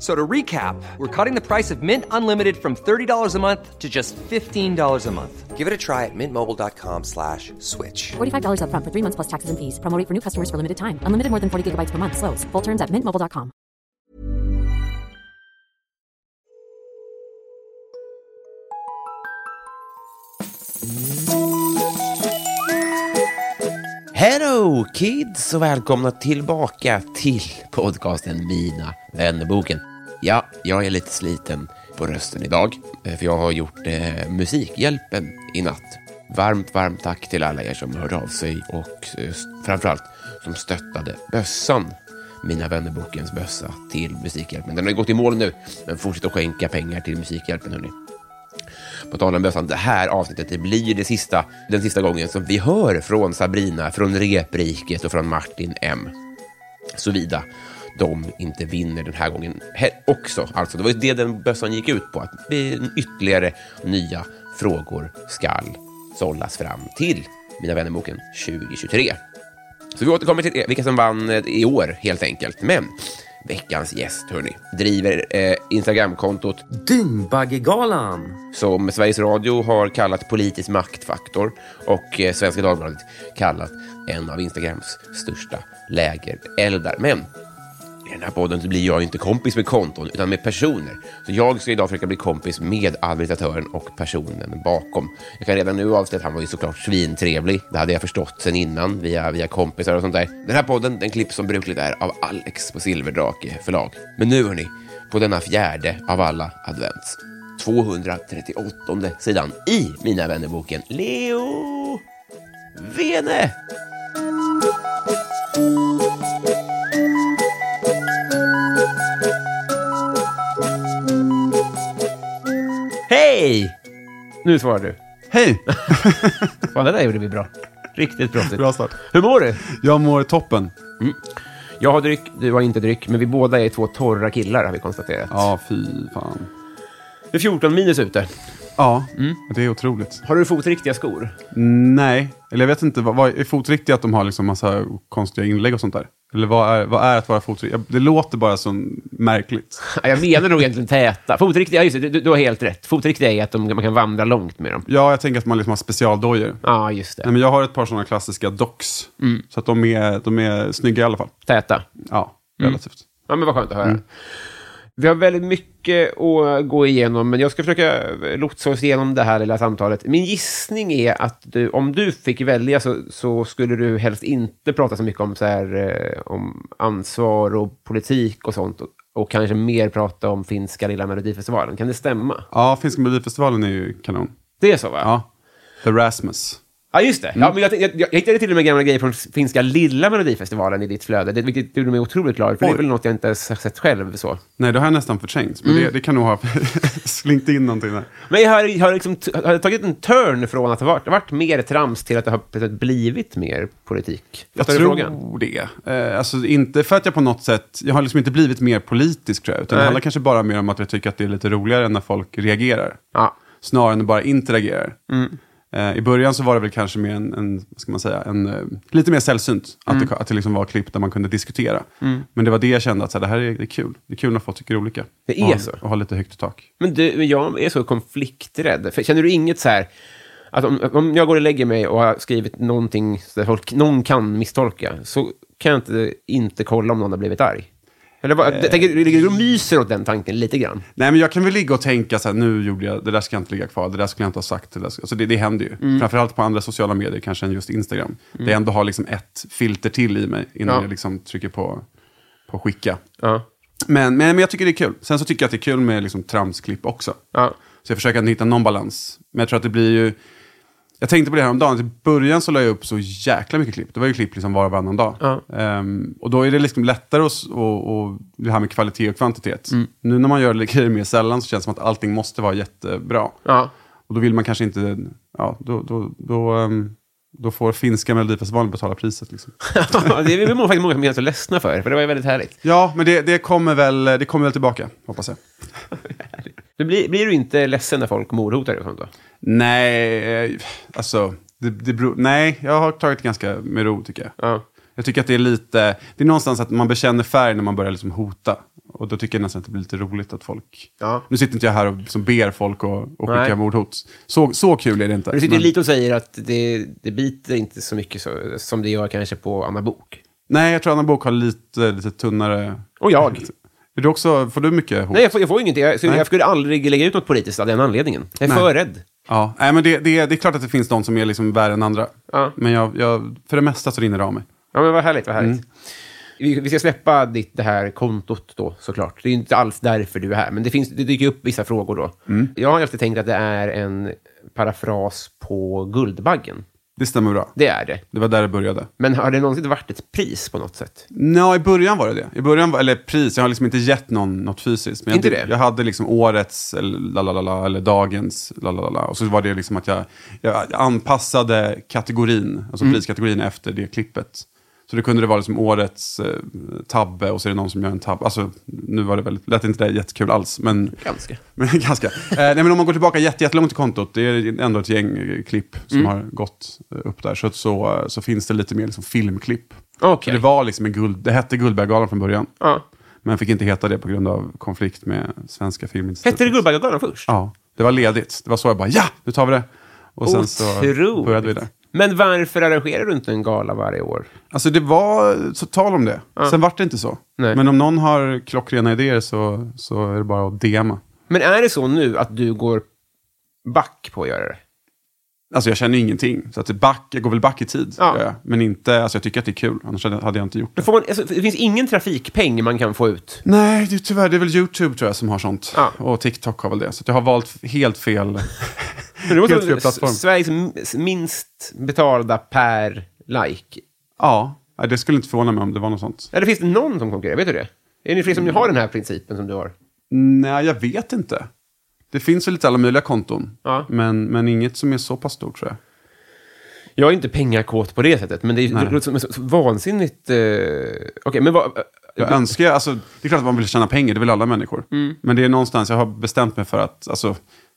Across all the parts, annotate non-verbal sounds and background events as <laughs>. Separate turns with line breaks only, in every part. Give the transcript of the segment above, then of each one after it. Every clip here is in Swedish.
So to recap, we're cutting the price of Mint Unlimited from $30 a month to just $15 a month. Give it a try at mintmobile.com slash switch.
$45 upfront for three months plus taxes and fees. Promo rate for new customers for limited time. Unlimited more than 40 gigabytes per month. Slows. Full terms at mintmobile.com.
Hello kids och välkomna tillbaka till podcasten Mina vännerboken. Ja, jag är lite sliten på rösten idag, eh, för jag har gjort eh, Musikhjälpen i natt. Varmt, varmt tack till alla er som hörde av sig och eh, s- framförallt som stöttade bössan. Mina vännerbokens bössa till Musikhjälpen. Den har ju gått i mål nu, men fortsätt att skänka pengar till Musikhjälpen hörni. På tal om bössan, det här avsnittet det blir det sista, den sista gången som vi hör från Sabrina, från Repriket och från Martin M. Såvida de inte vinner den här gången he- också. Alltså, det var ju det den bössan gick ut på, att vi- ytterligare nya frågor skall sållas fram till Mina vännerboken 2023. Så vi återkommer till vilka som vann eh, i år, helt enkelt. Men veckans gäst, hörni, driver eh, Instagramkontot
Dynbaggegalan!
som Sveriges Radio har kallat politisk maktfaktor och eh, Svenska Dagbladet kallat en av Instagrams största lägereldar. Men i den här podden så blir jag inte kompis med konton utan med personer. Så jag ska idag försöka bli kompis med administratören och personen bakom. Jag kan redan nu avslöja att han var ju såklart svintrevlig. Det hade jag förstått sen innan via, via kompisar och sånt där. Den här podden den klipps som brukligt är av Alex på Silverdrake förlag. Men nu hörni, på denna fjärde av alla advents. 238 sidan i Mina vännerboken Leo Vene. Hej! Nu svarar du.
Hej!
Fan, det där gjorde vi bra. Riktigt proffsigt.
Bra start.
Hur mår du?
<laughs> Jag mår toppen.
Jag har dryck, du har inte dryck, men vi båda är två torra killar har vi konstaterat.
Ja, fy fan.
Det är 14 minus ute.
Ja, det är otroligt.
Har du fotriktiga skor?
Nej, eller jag vet inte. Vad, vad är fotriktigt att de har liksom massa konstiga inlägg och sånt där? Eller vad är, vad är att vara fotriktig? Det låter bara så märkligt.
Ja, Jag menar nog egentligen täta. Fotriktiga, ja, just det, du, du har helt rätt. Fotriktiga är att de, man kan vandra långt med dem.
Ja, jag tänker att man liksom har specialdojor.
Ja, just det.
Nej, men jag har ett par sådana klassiska docks. Så att de är, de är snygga i alla fall.
Täta.
Ja, relativt.
Ja, men vad skönt att höra.
Mm.
Vi har väldigt mycket att gå igenom, men jag ska försöka lotsa oss igenom det här lilla samtalet. Min gissning är att du, om du fick välja så, så skulle du helst inte prata så mycket om, så här, eh, om ansvar och politik och sånt. Och, och kanske mer prata om finska lilla melodifestivalen. Kan det stämma?
Ja, Finska Melodifestivalen är ju kanon.
Det är så, va?
Ja, Mm. The Rasmus.
Ja, just det. Ja, men jag, jag, jag hittade till och med gamla grejer från finska lilla melodifestivalen i ditt flöde, det, vilket gjorde mig otroligt glad, för det är
Oj.
väl något jag inte ens har sett själv. så.
Nej, det har jag nästan förträngt. Men det, det kan nog ha <laughs> slinkt in någonting där.
Men jag har, jag har, liksom, t- har tagit en turn från att ha varit, varit mer trams till att det har plötsligt blivit mer politik.
Jag
Fattar du
tror
frågan?
det. Eh, alltså inte för att jag på något sätt, jag har liksom inte blivit mer politisk tror jag, utan det
Nej.
handlar kanske bara mer om att jag tycker att det är lite roligare när folk reagerar,
Ja. Mm.
snarare än bara interagerar. Eh, I början så var det väl kanske mer en, en vad ska man säga, en, eh, lite mer sällsynt,
Mm.
att det, att det liksom var klipp där man kunde diskutera. Men det var det jag kände, att så här, det här är, det är kul. Det är kul när folk tycker olika.
Det är
och, ha-
så.
Och ha lite högt i tak.
Men du, men jag är så konflikträdd. För, känner du inget så här... Att om, om jag går och lägger mig och har skrivit någonting så där folk, någon kan misstolka, så kan jag inte, inte kolla om någon har blivit arg. Eller vad, jag tänker, ligger du och myser åt den tanken lite grann?
Nej, men jag kan väl ligga och tänka så här, nu gjorde jag, det där ska jag inte ligga kvar, det där skulle jag inte ha sagt. Det, där ska, alltså det, det händer ju. Framförallt på andra sociala medier, kanske än just Instagram. Där jag ändå har liksom ett filter till i mig innan
Ja.
jag liksom trycker på på skicka.
Ja. <laughs>
Men, men, men jag tycker det är kul. Sen så tycker jag att det är kul med liksom tramsklipp också.
Ja.
Så jag försöker att hitta någon balans. Men jag tror att det blir ju... Jag tänkte på det här om dagen. att I början så la jag upp så jäkla mycket klipp. Det var ju klipp liksom var och varannan dag.
Ja.
Ehm, och då är det liksom lättare att... s- Och, och det här med kvalitet och kvantitet.
Mm.
Nu när man gör grejer mer sällan så känns det som att allting måste vara jättebra.
Ja.
Och då vill man kanske inte... Ja, då, då, då, ehm, då får finska Melodifestivalen betala
<laughs>
priset. Liksom.
det är många, faktiskt många som är så ledsna för, för det var ju väldigt härligt.
Ja, men det, det, kommer väl, det kommer väl tillbaka, hoppas jag.
Men blir, blir du inte ledsen när folk mordhotar dig och sånt då?
Nej, eh, alltså... Det, det beror, nej, jag har tagit det ganska med ro tycker jag.
Ja.
Jag tycker att det är lite... Det är någonstans att man bekänner färg när man börjar liksom hota. Och då tycker jag nästan att det blir lite roligt att folk...
Ja.
Nu sitter inte jag här och liksom ber folk att att skicka
Nej.
mordhot. Så, så kul är det inte.
Du sitter
Men-
lite och säger att det, det biter inte så mycket så, som det gör kanske på Anna Bok.
Nej, jag tror Anna Bok har lite, lite tunnare...
Och jag.
Är du också, får du mycket hot?
Nej, jag får, jag får ingenting. Jag, så
Nej.
jag skulle aldrig lägga ut något politiskt av den anledningen. Jag är
Nej.
för rädd.
Ja, nej, men det, det, det är klart att det finns de som är liksom värre än andra.
Ja.
Men jag, jag, för det mesta så rinner det av mig.
Ja, men vad härligt, vad härligt.
Mm.
Vi, vi ska släppa ditt, det här kontot då, såklart. Det är ju inte alls därför du är här, men det, finns, det dyker upp vissa frågor då.
Mm.
Jag har alltid tänkt att det är en parafras på Guldbaggen.
Det stämmer bra.
Det är det.
Det var där det började.
Men har det någonsin varit ett pris på något sätt?
Nå, i början var det det. I början, var- eller pris, jag har liksom inte gett någon något fysiskt. Men
Inte
jag,
det?
jag hade liksom årets, eller, lalalala, eller dagens, lalalala. Och så var det liksom att jag, jag anpassade kategorin, alltså
Mm.
priskategorin efter det klippet. Så det kunde det vara liksom årets eh, tabbe och så är det någon som gör en tabbe. Alltså, nu var det väl, lät inte det jättekul alls, men...
Ganska.
<laughs> Men ganska. Eh, nej, men om man går tillbaka jätte- jättelångt i kontot, det är ändå ett gäng eh, klipp som
Mm.
har gått eh, upp där, så, så, så finns det lite mer liksom filmklipp.
Okej.
Så det var liksom en guld, det hette Guldberggalan från början,
Ja.
men fick inte heta det på grund av konflikt med Svenska Filminstitutet.
Hette det Guldbaggegalan först?
Ja, det var ledigt. Det var så jag bara, ja, nu tar vi det. Och sen så
Otroligt.
började vi där.
Men varför arrangerar du inte en gala varje år?
Alltså det var så tal om det. Sen vart det inte så.
Nej.
Men om någon har klockrena idéer så, så är det bara att DMa.
Men är det så nu att du går back på att göra det?
Alltså jag känner ju ingenting. Så att det back, jag går väl back i tid.
Ja.
gör jag. Men inte, alltså jag tycker att det är kul. Annars hade jag- hade jag inte gjort
Men
det.
Får man, alltså, det finns ingen trafikpeng man kan få ut.
Nej, det är, tyvärr. Det är väl YouTube tror jag som har sånt.
Ja.
Och TikTok har väl det. Så att jag har valt helt fel,
<laughs> Men det måste
helt fel
vara
plattform.
S- Sveriges m- minst betalda per like.
Ja, nej, det skulle inte förvåna mig om det var något sånt.
Eller finns det någon som konkurrerar? Vet du det? Är ni fler som har den här principen som du har?
Nej, jag vet inte. Det finns väl lite alla möjliga konton.
Ja.
Men, men inget som är så pass stort tror jag.
Jag är inte pengakåt på det sättet, men det, är-
Nej.
det låter som ett så- så vansinnigt... Eh, Okej, men vad...
Jag önskar, alltså, det är klart att man vill tjäna pengar, det vill alla människor.
Mm.
Men det är någonstans, jag har bestämt mig för att, alltså,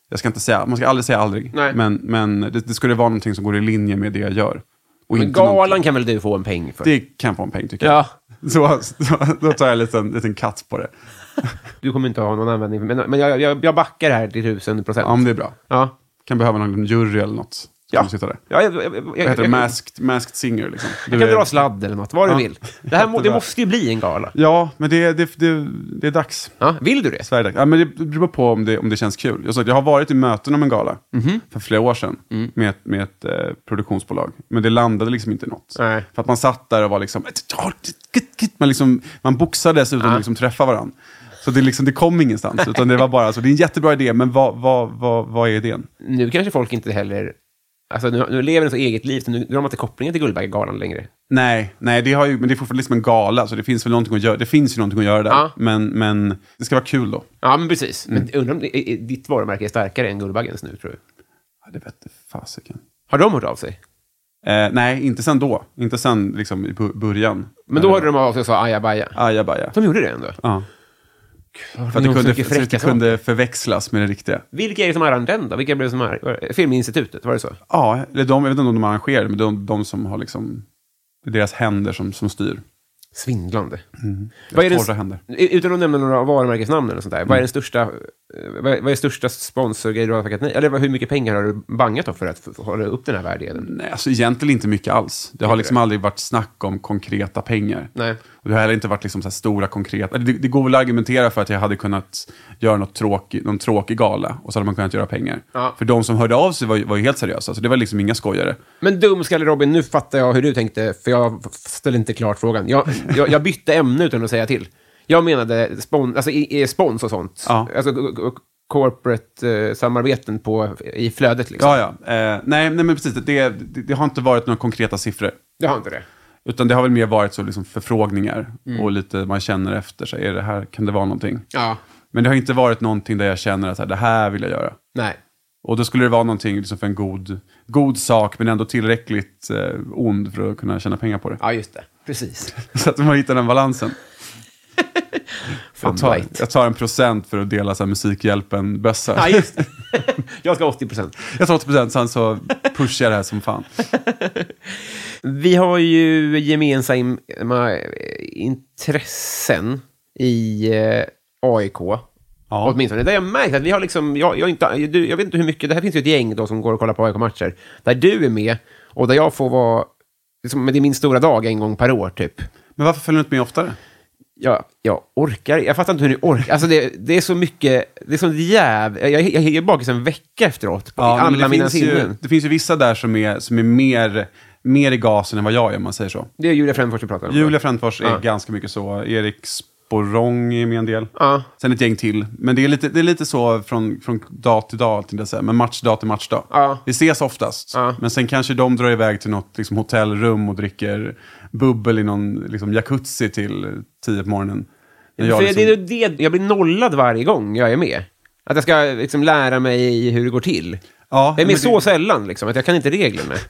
jag ska inte säga, man ska aldrig säga aldrig.
Nej.
Men, men det, det skulle vara någonting som går i linje med det jag gör. Och
men
inte
galan
någonting-
kan väl du få en peng för?
Det kan jag få en peng tycker
Ja.
jag. Så, så, då tar jag en liten, liten katt på det.
Du kommer inte ha någon användning för Men, men jag, jag, jag backar det här till tusen procent.
Ja, men det är bra.
Ja.
Kan behöva någon jury eller något. Ska
Ja.
man Sitta där.
Ja, jag, jag, jag, jag,
Vad heter det?
jag-
Masked, masked singer liksom. Du
jag kan
är-
dra sladd eller något, vad du
Ja.
vill. Det, här, må- det
Jättebra.
måste ju bli en gala.
Ja, men det, det, det, det är dags.
Ja, vill du det?
Sverige är dags. Ja, men det beror på om det, om det känns kul. Jag, sa, att jag har varit i möten om en gala
Mhm.
för flera år sedan
Mm.
med, ett- med ett eh, produktionsbolag. Men det landade liksom inte i något.
Nej.
För att man satt där och var liksom... Man, liksom, man boxades utan att liksom träffa varandra. Så det, liksom, det kom ingenstans. Utan det var bara, alltså, det är en jättebra idé, men vad, vad, vad, vad är idén?
nu kanske folk inte heller... Alltså nu, nu lever de så eget liv, så nu, nu har man inte kopplingen till Guldbaggegalan längre.
Nej, nej det har ju, men det är fortfarande liksom en gala, så det finns väl någonting att göra, det finns ju någonting att göra där.
Ja.
Men, men det ska vara kul då.
Ja, men precis.
Mm.
Men undrar om det- i- i- ditt varumärke är starkare än Guldbaggens nu, tror du?
Ja, det vete fasiken.
Har de hört av sig?
Eh, nej, inte sen då. Inte sen liksom, i bu- början.
Men då hörde de av sig och sa ajabaja.
Ajabaja.
De gjorde det ändå.
Ja.
För
För att det kunde, för att det kunde förväxlas med det riktiga.
Vilka är det som arrangerar den då? Vilka blev det som arrangerade? Filminstitutet, var det så?
Ja, eller de, jag vet inte om de arrangerade, men de, de som har liksom... Det är deras händer som, som styr.
Svindlande.
Vad
är den-
Torra händer. Mm.
Utan att nämna några varumärkesnamn eller sånt där, vad är den största, eh, vad är, vad är största sponsorgrej du har tackat nej? Eller vad- hur mycket pengar har du bangat då för att f- hålla upp den här värdigheten?
Nej, alltså egentligen inte mycket alls. Det har
Inte
liksom
det?
aldrig varit snack om konkreta pengar.
Nej.
Och det har heller inte varit liksom så här stora konkreta... Det, det går väl att argumentera för att jag hade kunnat göra något tråkig, någon tråkig gala och så hade man kunnat göra pengar.
Ja.
För de som hörde av sig var, ju- var ju helt seriösa, så det var liksom inga skojare. <laughs>
Men dumskalle Robin, nu fattar jag hur du tänkte, för jag f- ställde inte klart frågan. Jag, jag, jag bytte ämne utan att säga till. Jag menade spon, alltså, i, i spons och sånt.
Ja.
Alltså g- g- corporate-samarbeten på, i flödet. Liksom.
Ja, ja. Eh, nej, nej, men precis. Det, det, det har inte varit några konkreta siffror.
Jag har inte det.
Utan det har väl mer varit så liksom förfrågningar och lite man känner efter sig. Är det här, kan det vara någonting?
Mm. Ja,
Men det har inte varit någonting där jag känner att så här, det här vill jag göra.
nej.
Och då skulle det vara någonting liksom för en god, god sak, men ändå tillräckligt eh, ond för att kunna tjäna pengar på det.
Ja, just det. Precis.
<laughs> Så att man hittar den balansen.
Fan,
Jag tar,
right.
jag tar en procent för att dela så här Musikhjälpen-bössa.
Ja, just det. jag ska ha 80 procent.
<laughs> Jag tar 80 procent, sen så pushar jag det här
<laughs>
som fan.
Vi har ju gemensamma eh, intressen i eh, AIK.
Ja.
Åtminstone. Där jag märkt att vi har liksom... Jag, jag, är inte, du, jag vet inte hur mycket... Det här finns ju ett gäng då som går och kollar på AIK-matcher. Där du är med och där jag får vara... Liksom, men det är min stora dag en gång per år, typ.
Men varför följer du inte med oftare?
Jag, jag orkar Jag fattar inte hur ni orkar. Alltså det, det är så mycket... Det är som jäv... Jag, jag, jag är bakis en vecka efteråt. På
men
alla
det,
mina
finns ju,
sinnen.
det finns ju vissa där som är, som är mer, mer i gasen än vad jag är, om man säger så.
Det är Julia Frändfors vi pratar om.
Julia Frändfors är
Ja.
ganska mycket så. Erik Sporrong är med en del.
Ja.
Sen ett gäng till. Men det är lite, det är lite så från, från dag till dag, till det säga. men matchdag till matchdag.
Ja.
Vi ses oftast,
Ja.
men sen kanske de drar iväg till något liksom, hotellrum och dricker bubbel i någon liksom, jacuzzi till tio på morgonen. När jag
För
liksom-
det är ju det, jag blir nollad varje gång jag är med. Att jag ska liksom lära mig hur det går till.
Ja,
jag är
men
med så
det-
sällan, liksom, att jag kan inte reglerna.
<laughs>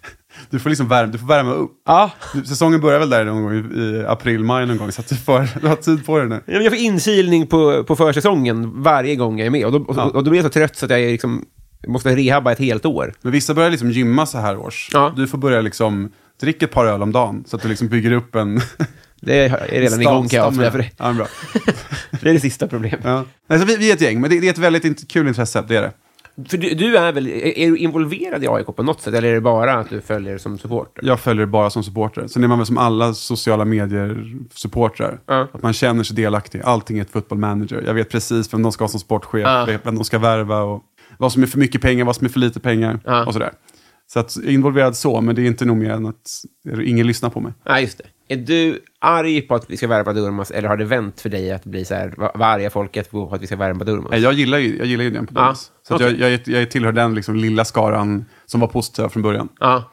Du får liksom värma, du får värma upp.
ja.
Du- Säsongen börjar väl där någon gång i, i april, maj någon gång, så att du, får, du har tid på dig nu.
men Jag får inkilning på, på försäsongen varje gång jag är med. Och då, och, och då blir jag så trött så att jag är liksom, måste rehabba ett helt år.
Men vissa börjar liksom gymma så här års.
Ja.
Du får börja liksom dricka ett par öl om dagen, så att du liksom bygger upp en...
Det är redan igång kan jag avslöja, för det,
Ja, men bra.
<laughs> det är det sista problemet.
Ja. Nej, så vi, vi är ett gäng, men det, det är ett väldigt int- kul intresse. Det är det.
För du, du är väl, är är du involverad i AIK på något sätt, eller är det bara att du följer som supporter?
Jag följer det bara som supporter. Sen är man väl som alla sociala medier-supportrar.
Ja.
Att man känner sig delaktig. Allting är ett football manager. Jag vet precis vem de ska ha som sportchef,
Ja.
vet vem de ska värva och vad som är för mycket pengar, vad som är för lite pengar
Ja.
och sådär. Så att, jag är involverad så, men det är inte nog mer än att ingen lyssnar på mig.
Ja, just det. Är du arg på att vi ska värva Durmaz eller har det vänt för dig att bli så här, va- vad arga folket på att vi ska värva Durmaz?
Nej, Jag gillar ju, jag gillar ju den på
Ja.
Dallas. Så att
Okej.
jag, jag, är- jag tillhör den liksom lilla skaran som var positiv från början.
Ja.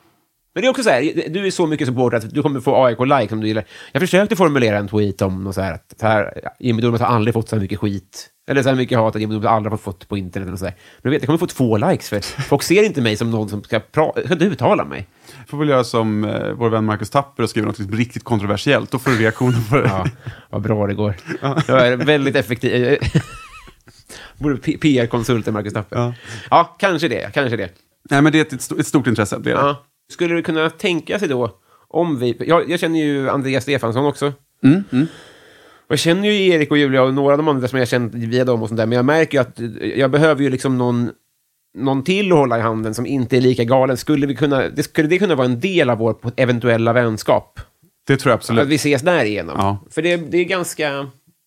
Men det är också så här, du är så mycket supporter att du kommer få AIK-like om du gillar. Jag försökte formulera en tweet om något så här, att så här, Jimmy Durmaz har aldrig fått så här mycket skit. Eller så här mycket hat att Jimmy Durmaz aldrig har fått på internet. Och så här. Men du vet, jag kommer få två likes för folk ser inte mig som någon som ska, pra- ska inte uttala mig.
Jag får väl göra som eh, vår vän Marcus Tapper och skriva något liksom riktigt kontroversiellt. Då får du reaktioner på det.
Ja, vad bra det går. Jag är väldigt effektiv. <laughs> Borde PR-konsulten Marcus Tapper. Ja.
Ja.
kanske det. Kanske det.
<laughs> Nej, men det är ett, ett, stort, ett stort intresse. Det är det.
Ja. Skulle du kunna tänka sig då, om vi... Jag, jag känner ju Andreas Stefansson också.
Mm,
Och jag känner ju Erik och Julia och några av de andra som jag känt via dem och sånt där. Men jag märker ju att eh, jag behöver ju liksom någon, någon till att hålla i handen som inte är lika galen. Skulle, vi kunna, det, skulle det kunna vara en del av vår eventuella vänskap?
Det tror jag
Att vi
absolut.
ses därigenom.
Ja.
För det, det, är ganska,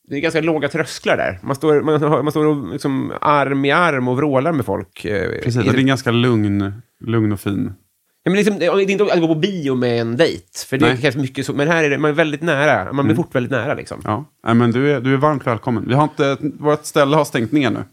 det är ganska låga trösklar där. Man står, man, har- man står och liksom arm i arm och vrålar med folk. eh,
Precis,
i-
och det är en ganska lugn, lugn och fin.
ja, men liksom, det är inte att gå på bio med en dejt. För det
Nej. Mm.
krävs mycket så, men här är det, man är väldigt nära. Man blir fort väldigt nära. Liksom.
Ja. Nej, men du, är, du är varmt välkommen. Vi har inte, vårt ställe har stängt ner nu.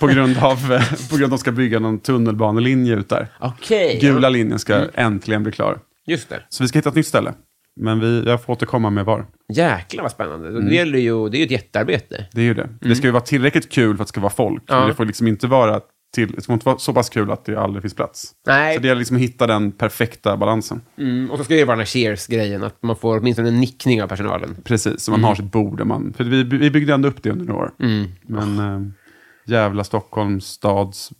På grund av eh, på grund av att de ska bygga någon tunnelbanelinje ut där.
<laughs> Okej.
Gula linjen ska äntligen bli klar.
Just det.
Så vi ska hitta ett nytt ställe. Men vi, jag får återkomma med var.
Jäklar vad spännande.
Mm.
Det, gäller ju, det är ju ett jättearbete.
Det är ju det. Det ska ju vara tillräckligt kul för att det ska vara folk. Men det får liksom inte vara, till, det får inte vara så pass kul att det aldrig finns plats.
Nej.
Så det gäller liksom att hitta den perfekta balansen.
Mm, och så ska det ju vara den här cheers-grejen, att man får åtminstone en nickning av personalen.
Precis, så man
Mm.
har sitt bord. Och man, för vi, vi byggde ändå upp det under några år. Men eh, jävla Stockholms stads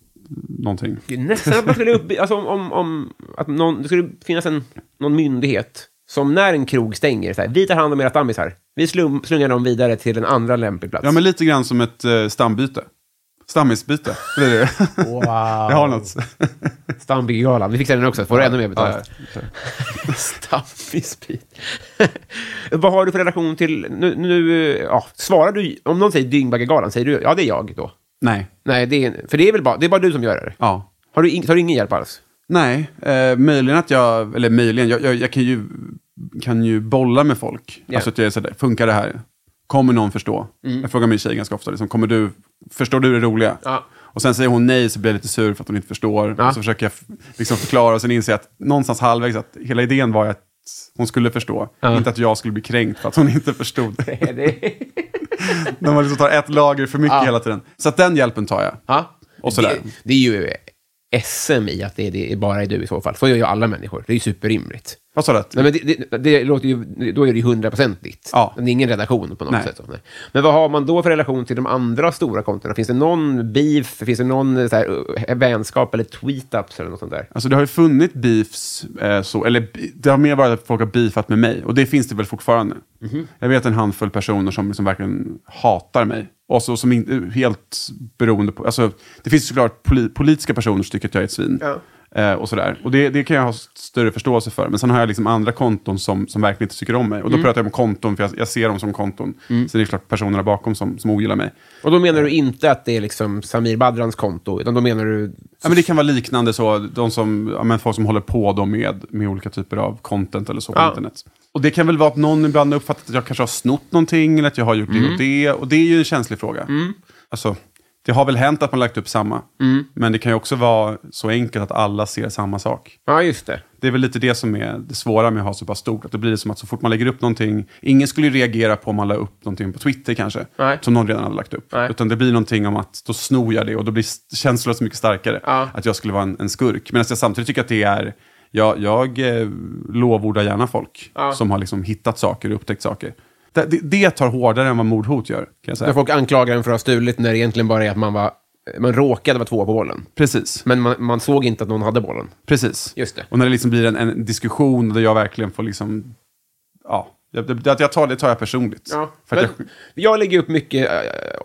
någonting.
Det är Nästan att man skulle upp... Alltså om, om, om att någon, det skulle finnas en, någon myndighet som när en krog stänger, så här, vi tar hand om era stammisar. Vi slum, slungar dem vidare till en andra lämplig plats.
Ja, men lite grann som ett eh, stambyte. Stammisbyte, blir <laughs> det.
<laughs> Wow.
Jag har något.
Stambigalan. Vi fixar den också, får du ännu mer betalt.
Ja, <laughs>
Stammisbit. <laughs> Vad har du för relation till... Nu, nu ja, svarar du... Om någon säger Dyngbaggegalan, säger du ja, det är jag då?
Nej,
Nej, det är, för det är väl bara, det är bara du som gör det?
ja. <laughs>
Har du, in, tar du ingen hjälp alls?
Nej, eh, möjligen att jag, eller möjligen, jag, jag, jag kan, ju, kan ju bolla med folk.
Ja. Mm.
Alltså att jag är sådär, funkar det här? Kommer någon förstå? Jag frågar min tjej ganska ofta, liksom, kommer du, förstår du det roliga?
Ja.
Och sen säger hon nej så blir jag lite sur för att hon inte förstår.
Ja.
Och så försöker jag f- liksom förklara och sen inser jag att någonstans halvvägs att hela idén var ju att hon skulle förstå.
Ja.
Inte att jag skulle bli kränkt för att hon inte förstod.
<laughs> Det-
När man liksom tar ett lager för mycket
Ja.
hela tiden. Så att den hjälpen tar jag.
Ja.
Och sådär.
Det, det är ju SM i att det, det är bara är du i så fall. Så gör ju alla människor. Det är ju superrimligt.
Vad sa du? Att,
Nej, men det, det, det låter ju, då är det ju hundraprocentigt.
Ja.
Det är ingen relation på något
Nej.
sätt. Nej. Men vad har man då för relation till de andra stora kontona? Finns det någon beef? Finns det någon eh, så här, eh, vänskap eller tweet-ups eller något sånt där?
Alltså det har ju funnits beefs, eh, så, eller bi- det har mer varit att folk har beefat med mig. Och det finns det väl fortfarande. Jag vet en handfull personer som liksom verkligen hatar mig. Och så, som inte helt beroende på... Alltså, det finns såklart poli, politiska personer som tycker att jag är ett svin.
Ja.
Eh, och sådär. Och det, det kan jag ha större förståelse för. Men sen har jag liksom andra konton som, som verkligen inte tycker om mig. Och då pratar jag om konton, för jag, jag ser dem som konton. Sen är det klart personerna bakom som, som ogillar mig.
Och då menar du inte att det är liksom Samir Badrans konto, utan då menar du...
Ja, men det kan vara liknande så, de som, ja, men folk som håller på då med, med olika typer av content eller så på
Ja.
internet. Och det kan väl vara att någon ibland har uppfattat att jag kanske har snott någonting eller att jag har gjort det och det. Och det är ju en känslig fråga. Alltså, det har väl hänt att man lagt upp samma. Men det kan ju också vara så enkelt att alla ser samma sak.
Ja, just det.
Det är väl lite det som är det svåra med att ha så pass stort. Att det blir som att så fort man lägger upp någonting, ingen skulle ju reagera på om man la upp någonting på Twitter kanske,
Nej.
som någon redan hade lagt upp.
Nej.
Utan det blir någonting om att då snor jag det och då blir s- känslor så mycket starkare.
Ja.
Att jag skulle vara en, en skurk. Medan jag samtidigt tycker att det är, jag, jag eh, lovordar gärna folk
Ja.
som har liksom hittat saker och upptäckt saker. Det, det, det tar hårdare än vad mordhot gör, kan jag
När
säga.
folk anklagar en för att ha stulit när det egentligen bara är att man, var, man råkade vara två på bollen.
Precis.
Men man, man såg inte att någon hade bollen.
Precis.
Just det.
Och när det liksom blir en, en diskussion där jag verkligen får liksom... Ja, jag, det, att jag tar, det tar jag personligt. För
men
att
jag...
jag,
lägger upp mycket eh,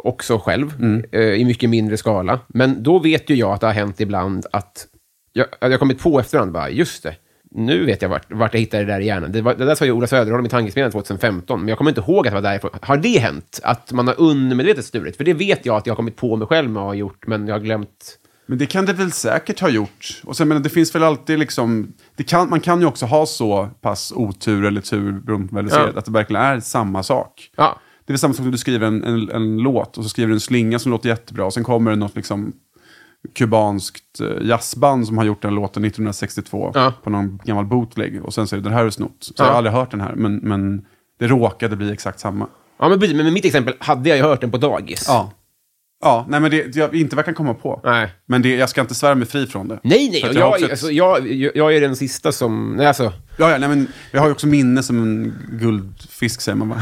också själv,
Mm.
eh, i mycket mindre skala. Men då vet ju jag att det har hänt ibland att jag, att jag har kommit på efterhand, bara, just det, nu vet jag vart, vart jag hittade det där i hjärnan. Det, var, det där sa ju Ola Söderholm i Tankesmedjan 2015, men jag kommer inte ihåg att det var därifrån. Har det hänt? Att man har undermedvetet stulit? För det vet jag att jag har kommit på mig själv med att ha gjort, men jag har glömt.
men det kan det väl säkert ha gjort. Och sen, men det finns väl alltid liksom... Det kan, man kan ju också ha så pass otur eller tur, beroende på vad du ser,
Ja.
att det verkligen är samma sak.
Ja.
Det är väl samma sak som du skriver en, en, en låt och så skriver du en slinga som låter jättebra och sen kommer det något liksom kubanskt eh, jazzband som har gjort den låten 1962
Ja.
på någon gammal bootleg och sen säger du den här är snott. Så
Ja.
jag har aldrig hört den här men, men det råkade bli exakt samma.
Ja, men precis. Men med mitt exempel hade jag ju hört den på dagis.
Ja. Ja, nej men det, jag inte vad jag kan komma på.
Nej.
Men det, jag ska inte svära mig fri från det.
Nej, nej.
För
Jag,
att jag har
jag,
också ett-
alltså, jag, jag, jag är den sista som... Nej, alltså.
Ja, ja, nej, men jag har ju också minne som en guldfisk säger man va?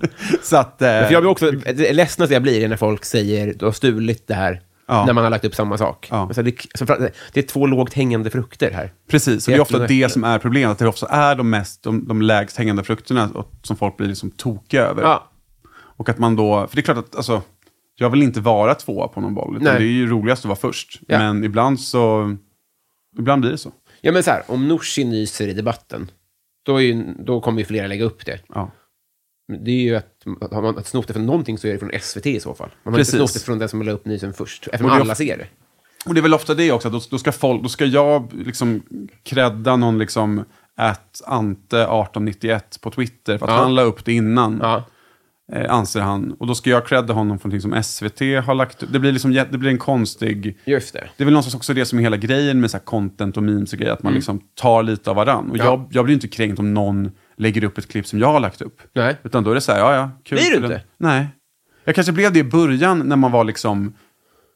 <laughs> så att... eh,
För jag blir också det ledsnaste jag blir är när folk säger du har stulit det här
Ja.
när man har lagt upp samma sak.
Ja.
Alltså, det, så fra- det är två lågt hängande frukter här.
Precis, och det är
Jäklar,
ofta det
verkligen.
som är problemet. Att det ofta är de, mest, de, de lägst hängande frukterna och- som folk blir liksom tokiga över.
Ja.
Och att man då, för det är klart att alltså, jag vill inte vara tvåa på någon boll. Utan
Nej.
det är ju roligast att vara först.
Ja.
Men ibland så, ibland blir det så.
ja, men så här, om Nooshi nyser i debatten, då, är ju, då kommer ju flera lägga upp det.
Ja.
Men Det är ju att, har man snott det från någonting så är det från SVT i så fall. Man har
Precis.
inte snott det från den som la upp nysen först, eftersom
Och det är
alla
of-
ser det.
Och det är väl ofta det också, att då, då, ska, folk, då ska jag liksom credda någon liksom att Ante1891 på Twitter, för att
Ja.
han la upp det innan.
Ja.
eh, anser han. Och då ska jag credda honom för någonting som SVT har lagt upp. Det blir, liksom, jä- det blir en konstig...
Just det.
Det är väl någonstans också det som är hela grejen med så här content och memes och grejer, att man liksom tar lite av varann. Och
Mm. Ja.
jag, jag blir inte kränkt om någon lägger upp ett klipp som jag har lagt upp.
Nej.
Utan då är det så här, ja ja, kul.
Blir du
för den.
inte?
Nej. Jag kanske blev det i början när man var liksom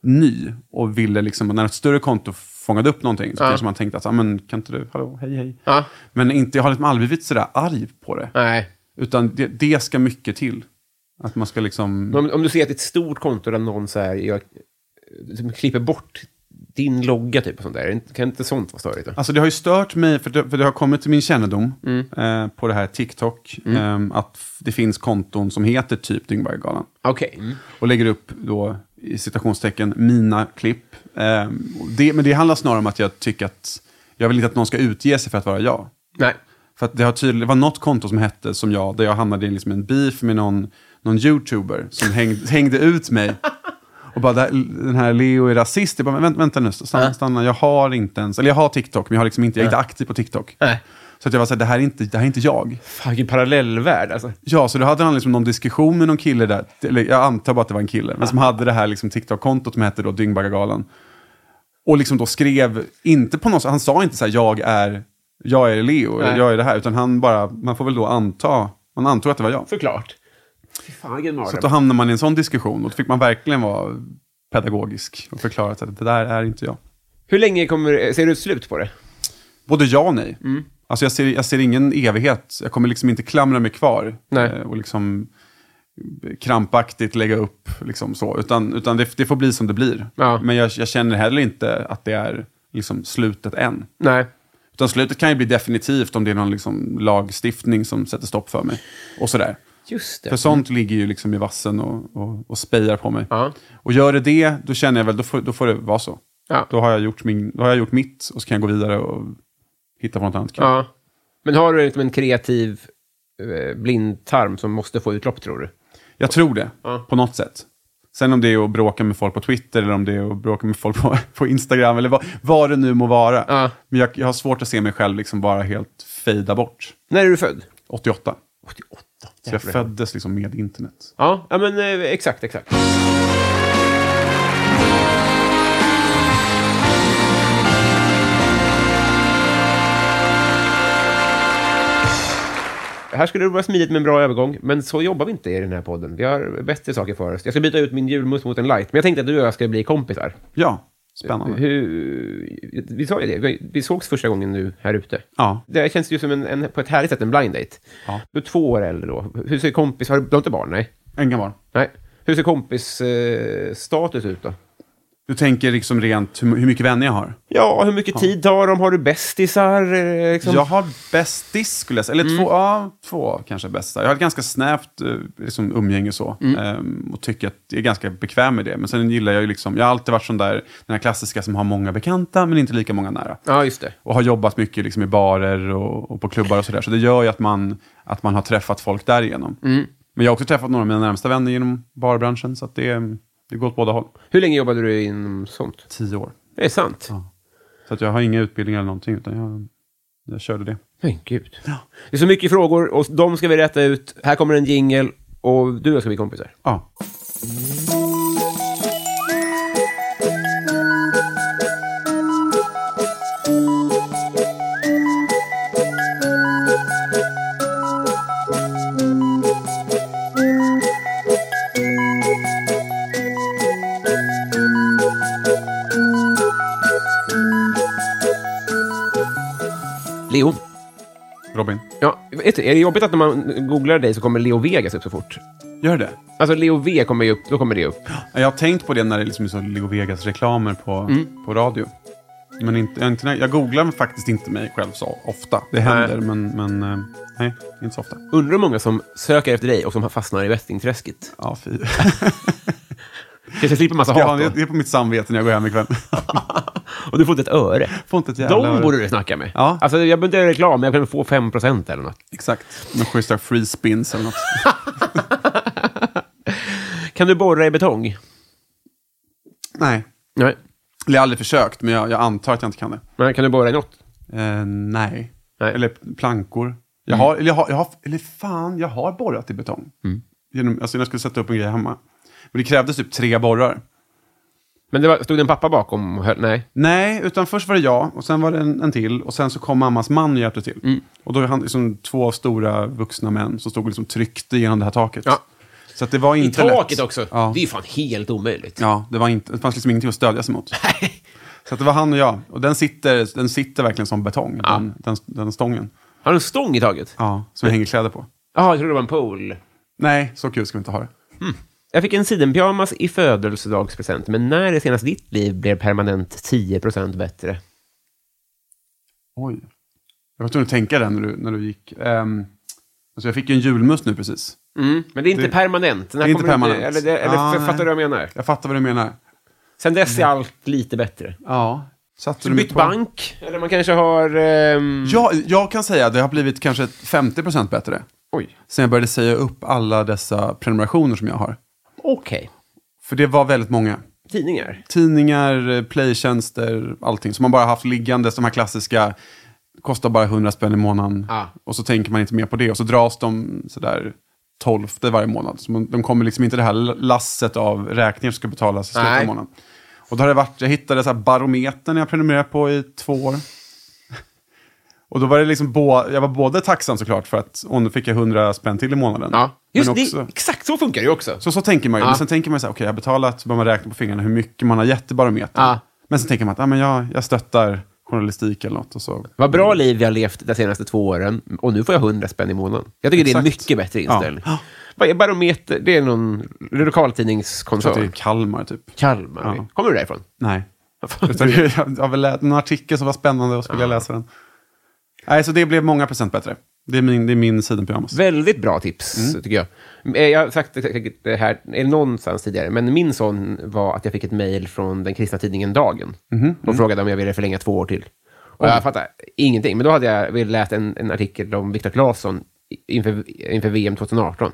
ny och ville liksom, när ett större konto fångade upp någonting så
Ja.
kanske man tänkte att, ja men kan inte du, hallå, hej hej.
Ja.
Men inte, jag har liksom aldrig blivit sådär arg på det.
Nej.
Utan det, det ska mycket till. Att man ska liksom...
Men Om, om du ser att det är ett stort konto där någon så här, jag, som klipper bort din logga typ och sånt där, kan inte sånt vara störigt? Då?
Alltså det har ju stört mig, för det, för det har kommit till min kännedom
Mm.
eh, på det här TikTok, eh, att f- det finns konton som heter typ Dyngbaggegalan.
Okej. Mm.
Mm. Och lägger upp då, i citationstecken, mina klipp. Eh, och det, men det handlar snarare om att jag tycker att, jag vill inte att någon ska utge sig för att vara jag.
Nej.
För att det, har tydligt, det var något konto som hette som jag, <laughs> där jag hamnade i liksom en beef med någon, någon youtuber som hängde, hängde ut mig. Och bara, det här- den här Leo är rasist. Jag bara, men vänta, vänta nu, stanna, stanna. Jag har inte ens, eller jag har TikTok, men jag, har liksom inte, jag är inte aktiv på TikTok.
Nej.
Så att jag var så här, det här är inte, det här är inte jag.
Fan, vilken parallellvärld alltså.
Ja, så då hade han liksom någon diskussion med någon kille där, eller jag antar bara att det var en kille, men som hade det här liksom TikTok-kontot som hette då Dyngbaggargalan. Och liksom då skrev, inte på något sätt- han sa inte så här jag är, jag är Leo, eller
Nej.
jag är det här, utan han bara, man får väl då anta, man antog att det var jag.
Såklart. Fy fan, vilken
Så
mardröm.
att då hamnar man i en sån diskussion och då fick man verkligen vara pedagogisk och förklara att det där är inte jag.
Hur länge kommer, ser du ett slut på det?
Både ja och nej.
Mm.
Alltså jag ser, jag ser ingen evighet. Jag kommer liksom inte klamra mig kvar
Nej.
eh, och liksom eh, krampaktigt lägga upp. Liksom så. Utan, utan det, det får bli som det blir.
Ja.
Men jag, jag känner heller inte att det är liksom slutet än.
Nej.
Utan slutet kan ju bli definitivt om det är någon liksom lagstiftning som sätter stopp för mig. Och sådär.
Just
För
det.
sånt ligger ju liksom i vassen och, och, och spejar på mig.
Ja.
Och gör det det, då känner jag väl, då får, då får det vara så.
Ja.
Då, har jag gjort min, då har jag gjort mitt och så kan jag gå vidare och hitta på något annat kul.
Ja. Men har du liksom en kreativ eh, blindtarm som måste få utlopp, tror du?
Jag tror det,
Ja.
på något sätt. Sen om det är att bråka med folk på Twitter eller om det är att bråka med folk på, <laughs> på Instagram eller vad, vad det nu må vara.
Ja.
Men jag, jag har svårt att se mig själv liksom bara helt fejda bort.
När är du född?
88.
88.
Så jag föddes liksom med internet.
Ja, ja men eh, exakt, exakt. Här skulle det vara smidigt med en bra övergång, men så jobbar vi inte i den här podden. Vi har bättre saker för oss. Jag ska byta ut min julmust mot en light, men jag tänkte att du och jag ska bli kompisar.
Ja, spännande.
Hur, vi sa ju det, vi- vi sågs första gången nu här ute.
Ja.
Det känns ju som en, en, på ett härligt sätt en blind date.
Ja.
Du är två år äldre då. Hur ser kompis... Har du, du har inte barn? Nej.
En gammal.
Nej. Hur ser kompisstatus eh, status ut då?
Du tänker liksom rent hur, hur mycket vänner jag har?
Ja, hur mycket tid tar de? Har du bästisar? eh, Liksom?
Jag har bästis skulle jag säga. Eller två, ja, två kanske bästa. Jag har ett ganska snävt eh, liksom, umgänge så. Ehm, och tycker att jag är ganska bekväm med det. Men sen gillar jag ju liksom, jag har alltid varit sån där, den här klassiska som har många bekanta men inte lika många nära.
Ja, just det.
Och har jobbat mycket liksom, i barer och, och på klubbar och sådär. Så det gör ju att man, att man har träffat folk därigenom. Men jag har också träffat några av mina närmsta vänner genom barbranschen. Så att det, det går åt båda håll.
Hur länge jobbade du inom sånt?
Tio år.
Det är sant.
Så att jag har inga utbildningar eller någonting utan jag, jag körde det.
Men gud. Det är så mycket frågor och de ska vi rätta ut. Här kommer en jingel och du och jag ska bli kompisar.
Ja.
Leo.
Robin,
Ja, vet du, är det jobbigt att när man googlar dig så kommer Leo Vegas upp så fort?
gör det.
Alltså Leo V kommer ju upp, då kommer det upp.
Jag har tänkt på det när det liksom är så Leo Vegas-reklamer på, på radio. Men inte, jag, inte, jag googlar faktiskt inte mig själv så ofta. Det händer, men, men eh, nej, inte så ofta.
Undrar hur många som söker efter dig och som fastnar i västingträsket.
Ja, fy. <laughs>
Kanske jag slipper massa
Ja,
hat
det,
då.
det är på mitt samvete när jag går hem ikväll. <laughs>
<laughs> Och du får inte ett öre.
Får inte ett jävla
De
öre.
borde du snacka med.
Ja.
Alltså, jag behöver inte göra reklam, men jag kan få 5 procent eller något.
Exakt. Med schyssta free spins eller något.
Kan du borra i betong?
nej,
Nej.
Eller jag har aldrig försökt, men jag, jag antar att jag inte kan det.
Men kan du borra i något?
Eh, nej.
Nej.
Eller plankor. Jag har, eller, jag har, jag har, eller fan, jag har borrat i betong. Genom, alltså när jag skulle sätta upp en grej hemma. Men det krävdes typ tre borrar.
Men det var, stod det en pappa bakom och höll? Nej.
Nej, utan först var det jag och sen var det en, en till och sen så kom mammas man och hjälpte till.
Mm.
Och då var han liksom två stora vuxna män som stod och liksom tryckte genom det här taket.
Ja.
Så att det var
I
inte
taket
lätt.
också?
Ja,
Det är ju fan helt omöjligt.
ja det, var inte, det fanns liksom ingenting att stödja sig mot. så att det var han och jag. Och den sitter, den sitter verkligen som betong, den, den, den stången.
Har du en stång i taget? Ja,
Ja, som jag hänger kläder på.
jag trodde det var en pole.
Nej, så kul ska vi inte ha det.
Jag fick en sidenpyjamas i födelsedagspresent, men när det senast ditt liv blev permanent 10 procent bättre?
Oj. Jag var tvungen att tänka den när du, när du gick. Ehm, alltså jag fick ju en julmust nu precis.
Mm. Men det är inte
Det-
permanent. Den här
det är inte
kommer inte-
permanent.
Eller, eller
Ah,
fattar du
nej.
vad jag menar?
Jag fattar vad du menar.
Sen dess är allt lite bättre.
Ja. Satte du mig
Bytt
på-
bank, eller man kanske har... ehm,
Ja, jag kan säga att det har blivit kanske 50% bättre.
Oj.
Sen jag började säga upp alla dessa prenumerationer som jag har.
Okej.
För det var väldigt många.
Tidningar?
Tidningar, eh, playtjänster, allting. Som man bara haft liggande, de här klassiska, kostar bara 100 spänn i månaden.
Ah.
Och så tänker man inte mer på det. Och så dras de sådär 12 varje månad. Så man, de kommer liksom inte det här lasset av räkningar som ska betalas i slutet
Nej.
av månaden. Och då har det varit, jag hittade så här barometern jag prenumererade på i två år. <laughs> Och då var det liksom, bå, jag var både tacksam såklart för att, och nu fick jag 100 spänn till i månaden.
Ja.
Men
Just
också-
det, exakt så funkar det ju också.
så, så tänker man ju.
Ja.
Men sen tänker man ju så här, okej jag har betalat, så börjar man räkna på fingrarna hur mycket man har gett i barometern.
Ja.
Men sen tänker man att ah, men jag, jag stöttar journalistik eller något. Och så.
Vad bra liv vi har levt de senaste två åren och nu får jag 100 spänn i månaden. Jag tycker det är en
Exakt.
mycket bättre
Ja.
inställning. Vad är Barometer? Det är någon
Så att det är
lokaltidningskoncern.
Kalmar typ.
Kalmar.
Ja.
Kommer du därifrån? <laughs>
Nej. Utan jag, jag har väl läst en artikel som var spännande och så ville jag läsa den. Nej, så det blev många procent bättre. Det är min, det är min sidenpyjamas.
Väldigt bra tips, tycker jag. Eh, Jag har sagt det säkert här eh, någonstans tidigare, men min sån var att jag fick ett mejl från den kristna tidningen Dagen. De frågade om jag ville förlänga två år till. Och jag fattade ingenting, men då hade jag väl läst en, en artikel om Viktor Claesson i- inför, inför VM 2018.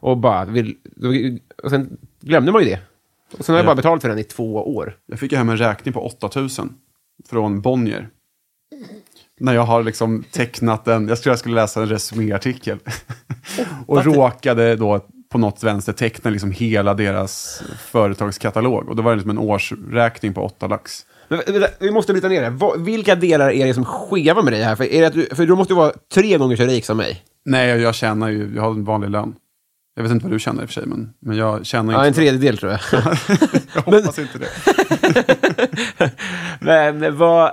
Och, bara vill, då- och sen glömde man ju det. Och sen har jag
Ja.
bara betalat för den i två år.
Jag fick ju hem en räkning på 8000 från Bonnier. När jag har liksom tecknat en, jag tror jag skulle läsa en resuméartikel. och råkade då på något vänster teckna liksom hela deras företagskatalog. Och då var det liksom en årsräkning på 8 lax.
Men, vänta, vi måste bryta ner det. här. Vad- Vilka delar är det som skevar med dig här? För, är det att du, för du måste ju vara tre gånger så rik som mig.
Nej, jag, jag tjänar ju, jag har en vanlig lön. Jag vet inte vad du tjänar i och för sig, men, men jag tjänar
Ja, en
inte.
tredjedel tror jag.
<laughs> jag hoppas inte det.
Men men vad...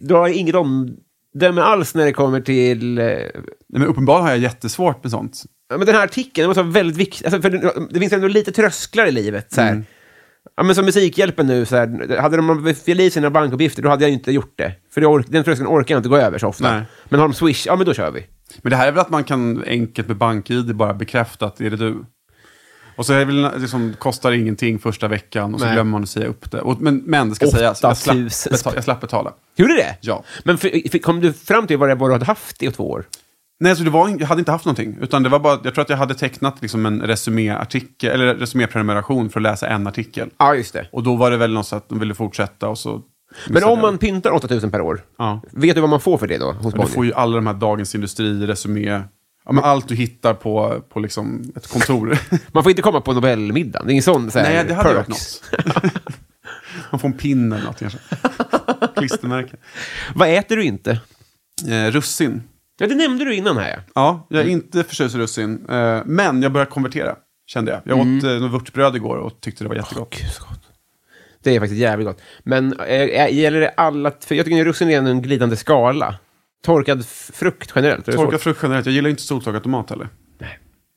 Du har inget omdöme alls när det kommer till... eh,
Nej, men uppenbarligen har jag jättesvårt med sånt.
ja, Men den här artikeln, den måste vara väldigt viktig. Alltså, för det, det finns ändå lite trösklar i livet. Så här.
Mm.
Ja, men som Musikhjälpen nu, så här, hade de fyllt i sina bankuppgifter, då hade jag inte gjort det. För det ork, den tröskeln orkar jag inte gå över så ofta.
Nej.
Men har de Swish, ja men då kör vi.
Men det här är väl att man kan enkelt med BankID bara bekräfta att är det du. Och så är det väl liksom, kostar det ingenting första veckan och så
Nej.
glömmer man att säga upp det. Och, men, men det ska sägas, jag slapp,
8000
betala, jag slapp betala.
Gjorde det?
Ja.
Men för, för, kom du fram till vad det var du hade haft i två år?
Nej, så det var, in- jag hade inte haft någonting. Utan det var bara, jag tror att jag hade tecknat liksom en resuméartikel, eller resuméprenumeration för att läsa en artikel.
Ja, just det.
Och då var det väl något så att de ville fortsätta och så...
Men om man pyntar 8000 per år,
Ja.
vet du vad man får för det då? Hos
Du
Bonnier?
får ju alla de här Dagens Industri, resumé, ja, men allt du hittar på, på liksom ett kontor. <laughs>
Man får inte komma på Nobelmiddagen. Det är ingen sån så här,
Nej, det hade varit
perks.
något. <laughs> Man får en pinne eller något kanske. Klistermärke.
Vad äter du inte?
Eh, russin.
Ja, det nämnde du innan här. ja.
Ja, jag är inte förtjust i russin. Eh, men jag börjar konvertera, kände jag. Jag åt eh, något vörtbröd igår och tyckte det var jättegott.
Det är faktiskt jävligt gott. Men eh, gäller det alla... För jag tycker att russin är en glidande skala. Torkad f- frukt generellt. är det
Torkad
svårt?
frukt generellt. Jag gillar inte soltorkad tomat heller.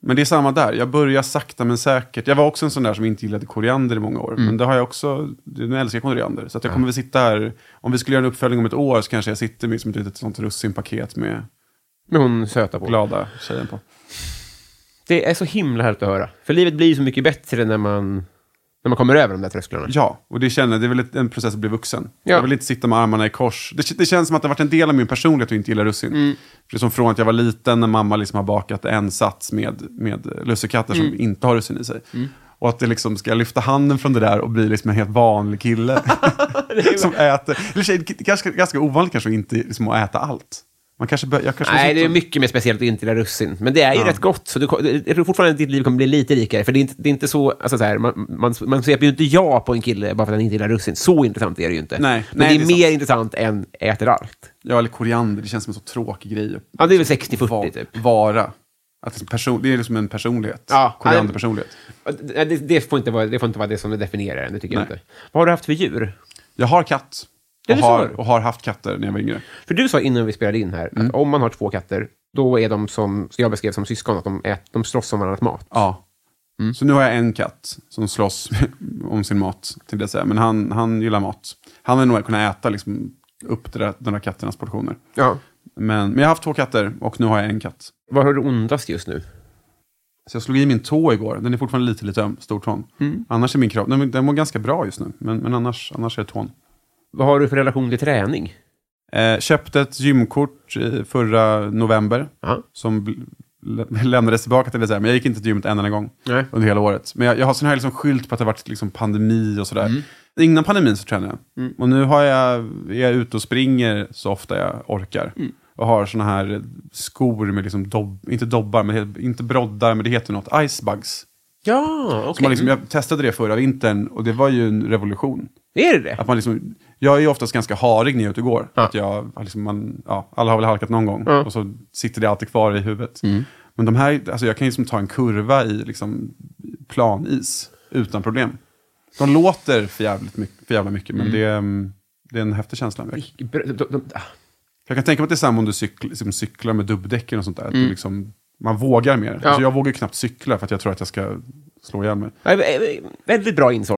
Men det är samma där. Jag börjar sakta men säkert. Jag var också en sån där som inte gillade koriander i många år. Men det har jag också. Nu älskar jag koriander. Så att jag kommer väl sitta här. Om vi skulle göra en uppföljning om ett år så kanske jag sitter med som ett litet sånt russinpaket med
Men hon söta på.
glada tjejen på.
Det är så himla härligt att höra. För livet blir ju så mycket bättre när man, när man kommer över de där trösklarna.
Ja, och det känner det är väl ett- en process att bli vuxen.
Ja.
Jag vill inte sitta med armarna i kors. Det, k- det känns som att det har varit en del av min personlighet att inte gilla russin.
Mm.
För det är som från att jag var liten när mamma liksom har bakat en sats med, med lussekatter som
Mm.
inte har russin i sig. Och att det liksom ska lyfta handen från det där och bli liksom en helt vanlig kille.
<laughs>
<laughs> som äter. Eller tjej, det är ganska, ganska ovanligt kanske att inte liksom att äta allt. Man kanske bör, jag kanske
Nej,
måste-
det är mycket mer speciellt att inte gilla russin. Men det är ju rätt gott, så du, ko- jag tror fortfarande att ditt liv kommer bli lite rikare. För det är inte, det är inte så... Alltså så här, man, man, man ser ju inte ja på en kille bara för att han inte gillar russin. Så intressant är det ju inte.
Nej,
Men
nej,
det är,
det är
mer intressant än äter allt.
Ja, eller koriander, det känns som en så tråkig grej. att
Ja, det är väl 60-40 typ.
Vara. Att liksom person, det är liksom en personlighet.
Ja,
Korianderpersonlighet.
Det, det, får inte vara, det får inte vara det som det definierar en, det tycker jag
Nej.
inte. Vad har du haft för djur?
Jag har katt.
Ja,
Och
det sa
har,
du.
och har haft katter när jag var yngre.
För du sa innan vi spelade in här
Mm.
att om man har två katter, då är de som, som jag beskrev som syskon, att de, ät, de slåss om varandras mat.
Ja. Så nu har jag en katt som slåss <laughs> om sin mat. Till det säga. Men han, han gillar mat. Han hade nog kunnat äta liksom, upp det där, de där katternas portioner.
Ja.
Men, men jag har haft två katter och nu har jag en katt.
Vad har du ondast just nu?
Så jag slog i min tå igår. Den är fortfarande lite, lite öm, stortån. Annars är min kropp, den, den mår ganska bra just nu. Men, men annars, annars är det tån.
Vad har du för relation till träning?
Eh, köpte ett gymkort i förra november.
Ja.
Som bl- lä- lämnades tillbaka till det. Så här, men jag gick inte till gymmet en enda gång
Nej.
under hela året. Men jag, jag har, sen har jag liksom skylt på att det har varit liksom pandemi och sådär.
Mm.
Innan pandemin så tränade jag. Och nu har jag, är jag ute och springer så ofta jag orkar.
Mm.
Och har såna här skor med, liksom dobb, inte dobbar, men he- inte broddar, men det heter något, icebugs.
Ja, okej.
Som man liksom, jag testade det förra vintern och det var ju en revolution.
Är det det?
Att man liksom, jag är ju oftast ganska harig när jag är ute och går. Att jag, har liksom, man, ja, alla har väl halkat någon gång och så sitter det alltid kvar i huvudet.
Mm.
Men de här, alltså jag kan ju liksom ta en kurva i liksom planis utan problem. De låter för, jävligt mycket, för jävla mycket, men det, mm, det är en häftig känsla. Jag,
De, de, de, ah.
jag kan tänka mig att det är samma om du cykl, liksom cyklar med dubbdäcken och sånt där. Att
Mm.
du liksom, man vågar mer. Alltså jag vågar ju knappt cykla för att jag tror att jag ska slå ihjäl mig.
Nej, vä- vä- Väldigt bra insåg.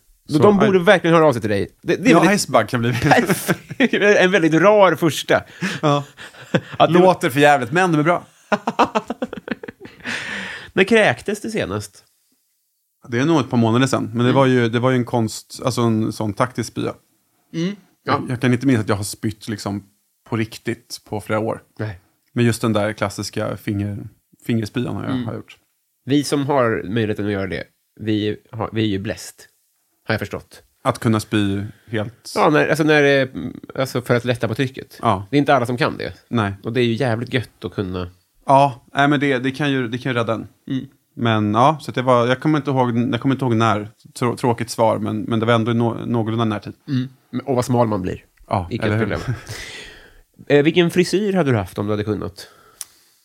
De,
Så-
de borde verkligen höra av sig till dig. Det, det är
Ja,
väldigt-
Icebug kan
<laughs>
bli...
en väldigt rar första.
ja.
<laughs> Att det,
Låter för jävligt, men de är bra.
när kräktes det senast?
Det är nog ett par månader sedan. Men det, var, ju, det var ju en konst, alltså en sån taktisk spya. Jag, jag kan inte minnas att jag har spytt liksom på riktigt på flera år.
Nej.
Men just den där klassiska finger, fingerspyan har jag har gjort.
Vi som har möjligheten att göra det, vi, har, vi är ju bläst. Har jag förstått.
Att kunna spy helt...
Ja, när, alltså, när, det- alltså för att lätta på trycket.
Ja.
Det är inte alla som kan det.
Nej.
Och det är ju jävligt gött att kunna...
Ja, nej, men det, det, kan ju, det kan ju rädda en. Men ja, så att det var, jag kommer inte ihåg, jag kommer inte ihåg när. Trå, tråkigt svar, men, men det var ändå i nå- någorlunda närtid.
Och vad smal man blir.
Ja,
Icke
eller
ett
hur?
problem. eh, vilken frisyr hade du haft om du hade kunnat?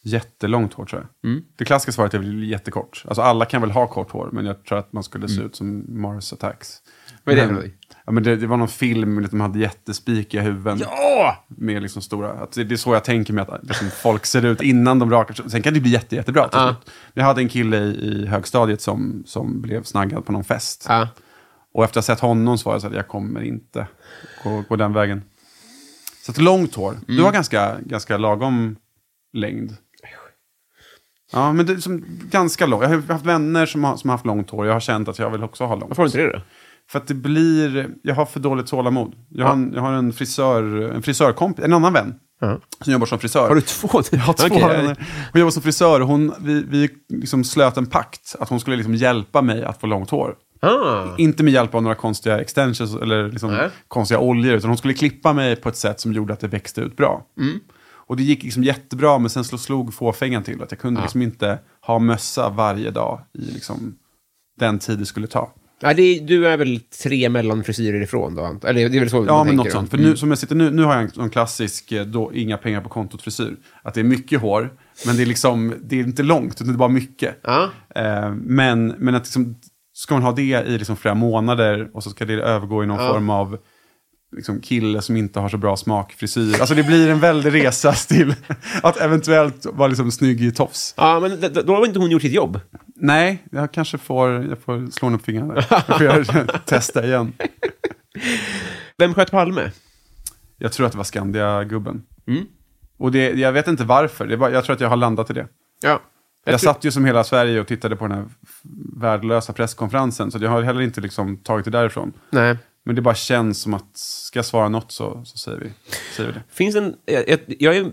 Jättelångt hår tror jag.
Mm.
Det klassiska svaret är väl jättekort. Alltså alla kan väl ha kort hår, men jag tror att man skulle se ut som Mars Attacks.
Mm. Vad är det för
men,
någonting?
ja, men det, det var någon film med att de hade jättespikiga huvuden. Ja! Med liksom stora, att det, det är så jag tänker mig att liksom, folk ser ut innan de rakar sig. Sen kan det bli jätte, jättebra till
Ja.
slut. Jag hade en kille i, i högstadiet som, som blev snaggad på någon fest.
Ja.
Och efter att ha sett honom så var jag så att jag kommer inte gå, gå den vägen. Så att långt hår. Du
Mm.
har ganska, ganska lagom längd. Ja, men det är som ganska långt. Jag har haft vänner som har, som har haft långt hår. Jag har känt att jag vill också ha långt.
Varför har du inte det då?
För att det blir... Jag har för dåligt tålamod. Jag har, en, jag har en frisör... En frisörkompis. En annan vän. Som jobbar som frisör.
Har du två? Jag har
Två vänner. Hon jobbar som frisör och hon, vi, vi liksom slöt en pakt att hon skulle liksom hjälpa mig att få långt hår.
Ah.
Inte med hjälp av några konstiga extensions eller liksom
Nej.
konstiga oljor, utan hon skulle klippa mig på ett sätt som gjorde att det växte ut bra.
Mm.
Och det gick liksom jättebra, men sen slog, slog fåfängan till. Att jag
Ah.
kunde liksom inte ha mössa varje dag i liksom den tid det skulle ta.
Ja, det är, du är väl tre mellanfrisyrer ifrån då? ant- Eller det är väl så
Ja,
man
men
tänker? Mm.
något
då?
sånt. För nu, som jag sitter nu, nu har jag en sån klassisk eh, då, inga pengar på kontot-frisyr. Att det är mycket hår, men det är, liksom, det är inte långt, utan det är bara mycket.
Ja.
Eh, men, men att liksom, ska man ha det i liksom flera månader och så ska det övergå i någon form av liksom, kille som inte har så bra smakfrisyr. Alltså det blir en väldig resa <laughs> till att eventuellt vara liksom snygg i tofs.
Ja, men d- d- då har inte hon gjort sitt jobb.
Nej, jag kanske får, jag får slå henne på fingrarna. Jag får göra- <laughs> testa igen.
Vem sköt Palme?
Jag tror att det var Skandia-gubben.
Mm.
Och det, jag vet inte varför, det är bara, jag tror att jag har landat i det.
Ja.
Jag,
tror-
satt ju som hela Sverige och tittade på den här f- värdelösa presskonferensen, så jag har heller inte liksom tagit det därifrån.
Nej.
Men det bara känns som att, ska jag svara något så, så säger, vi, säger vi det.
Finns en... Jag, jag, jag är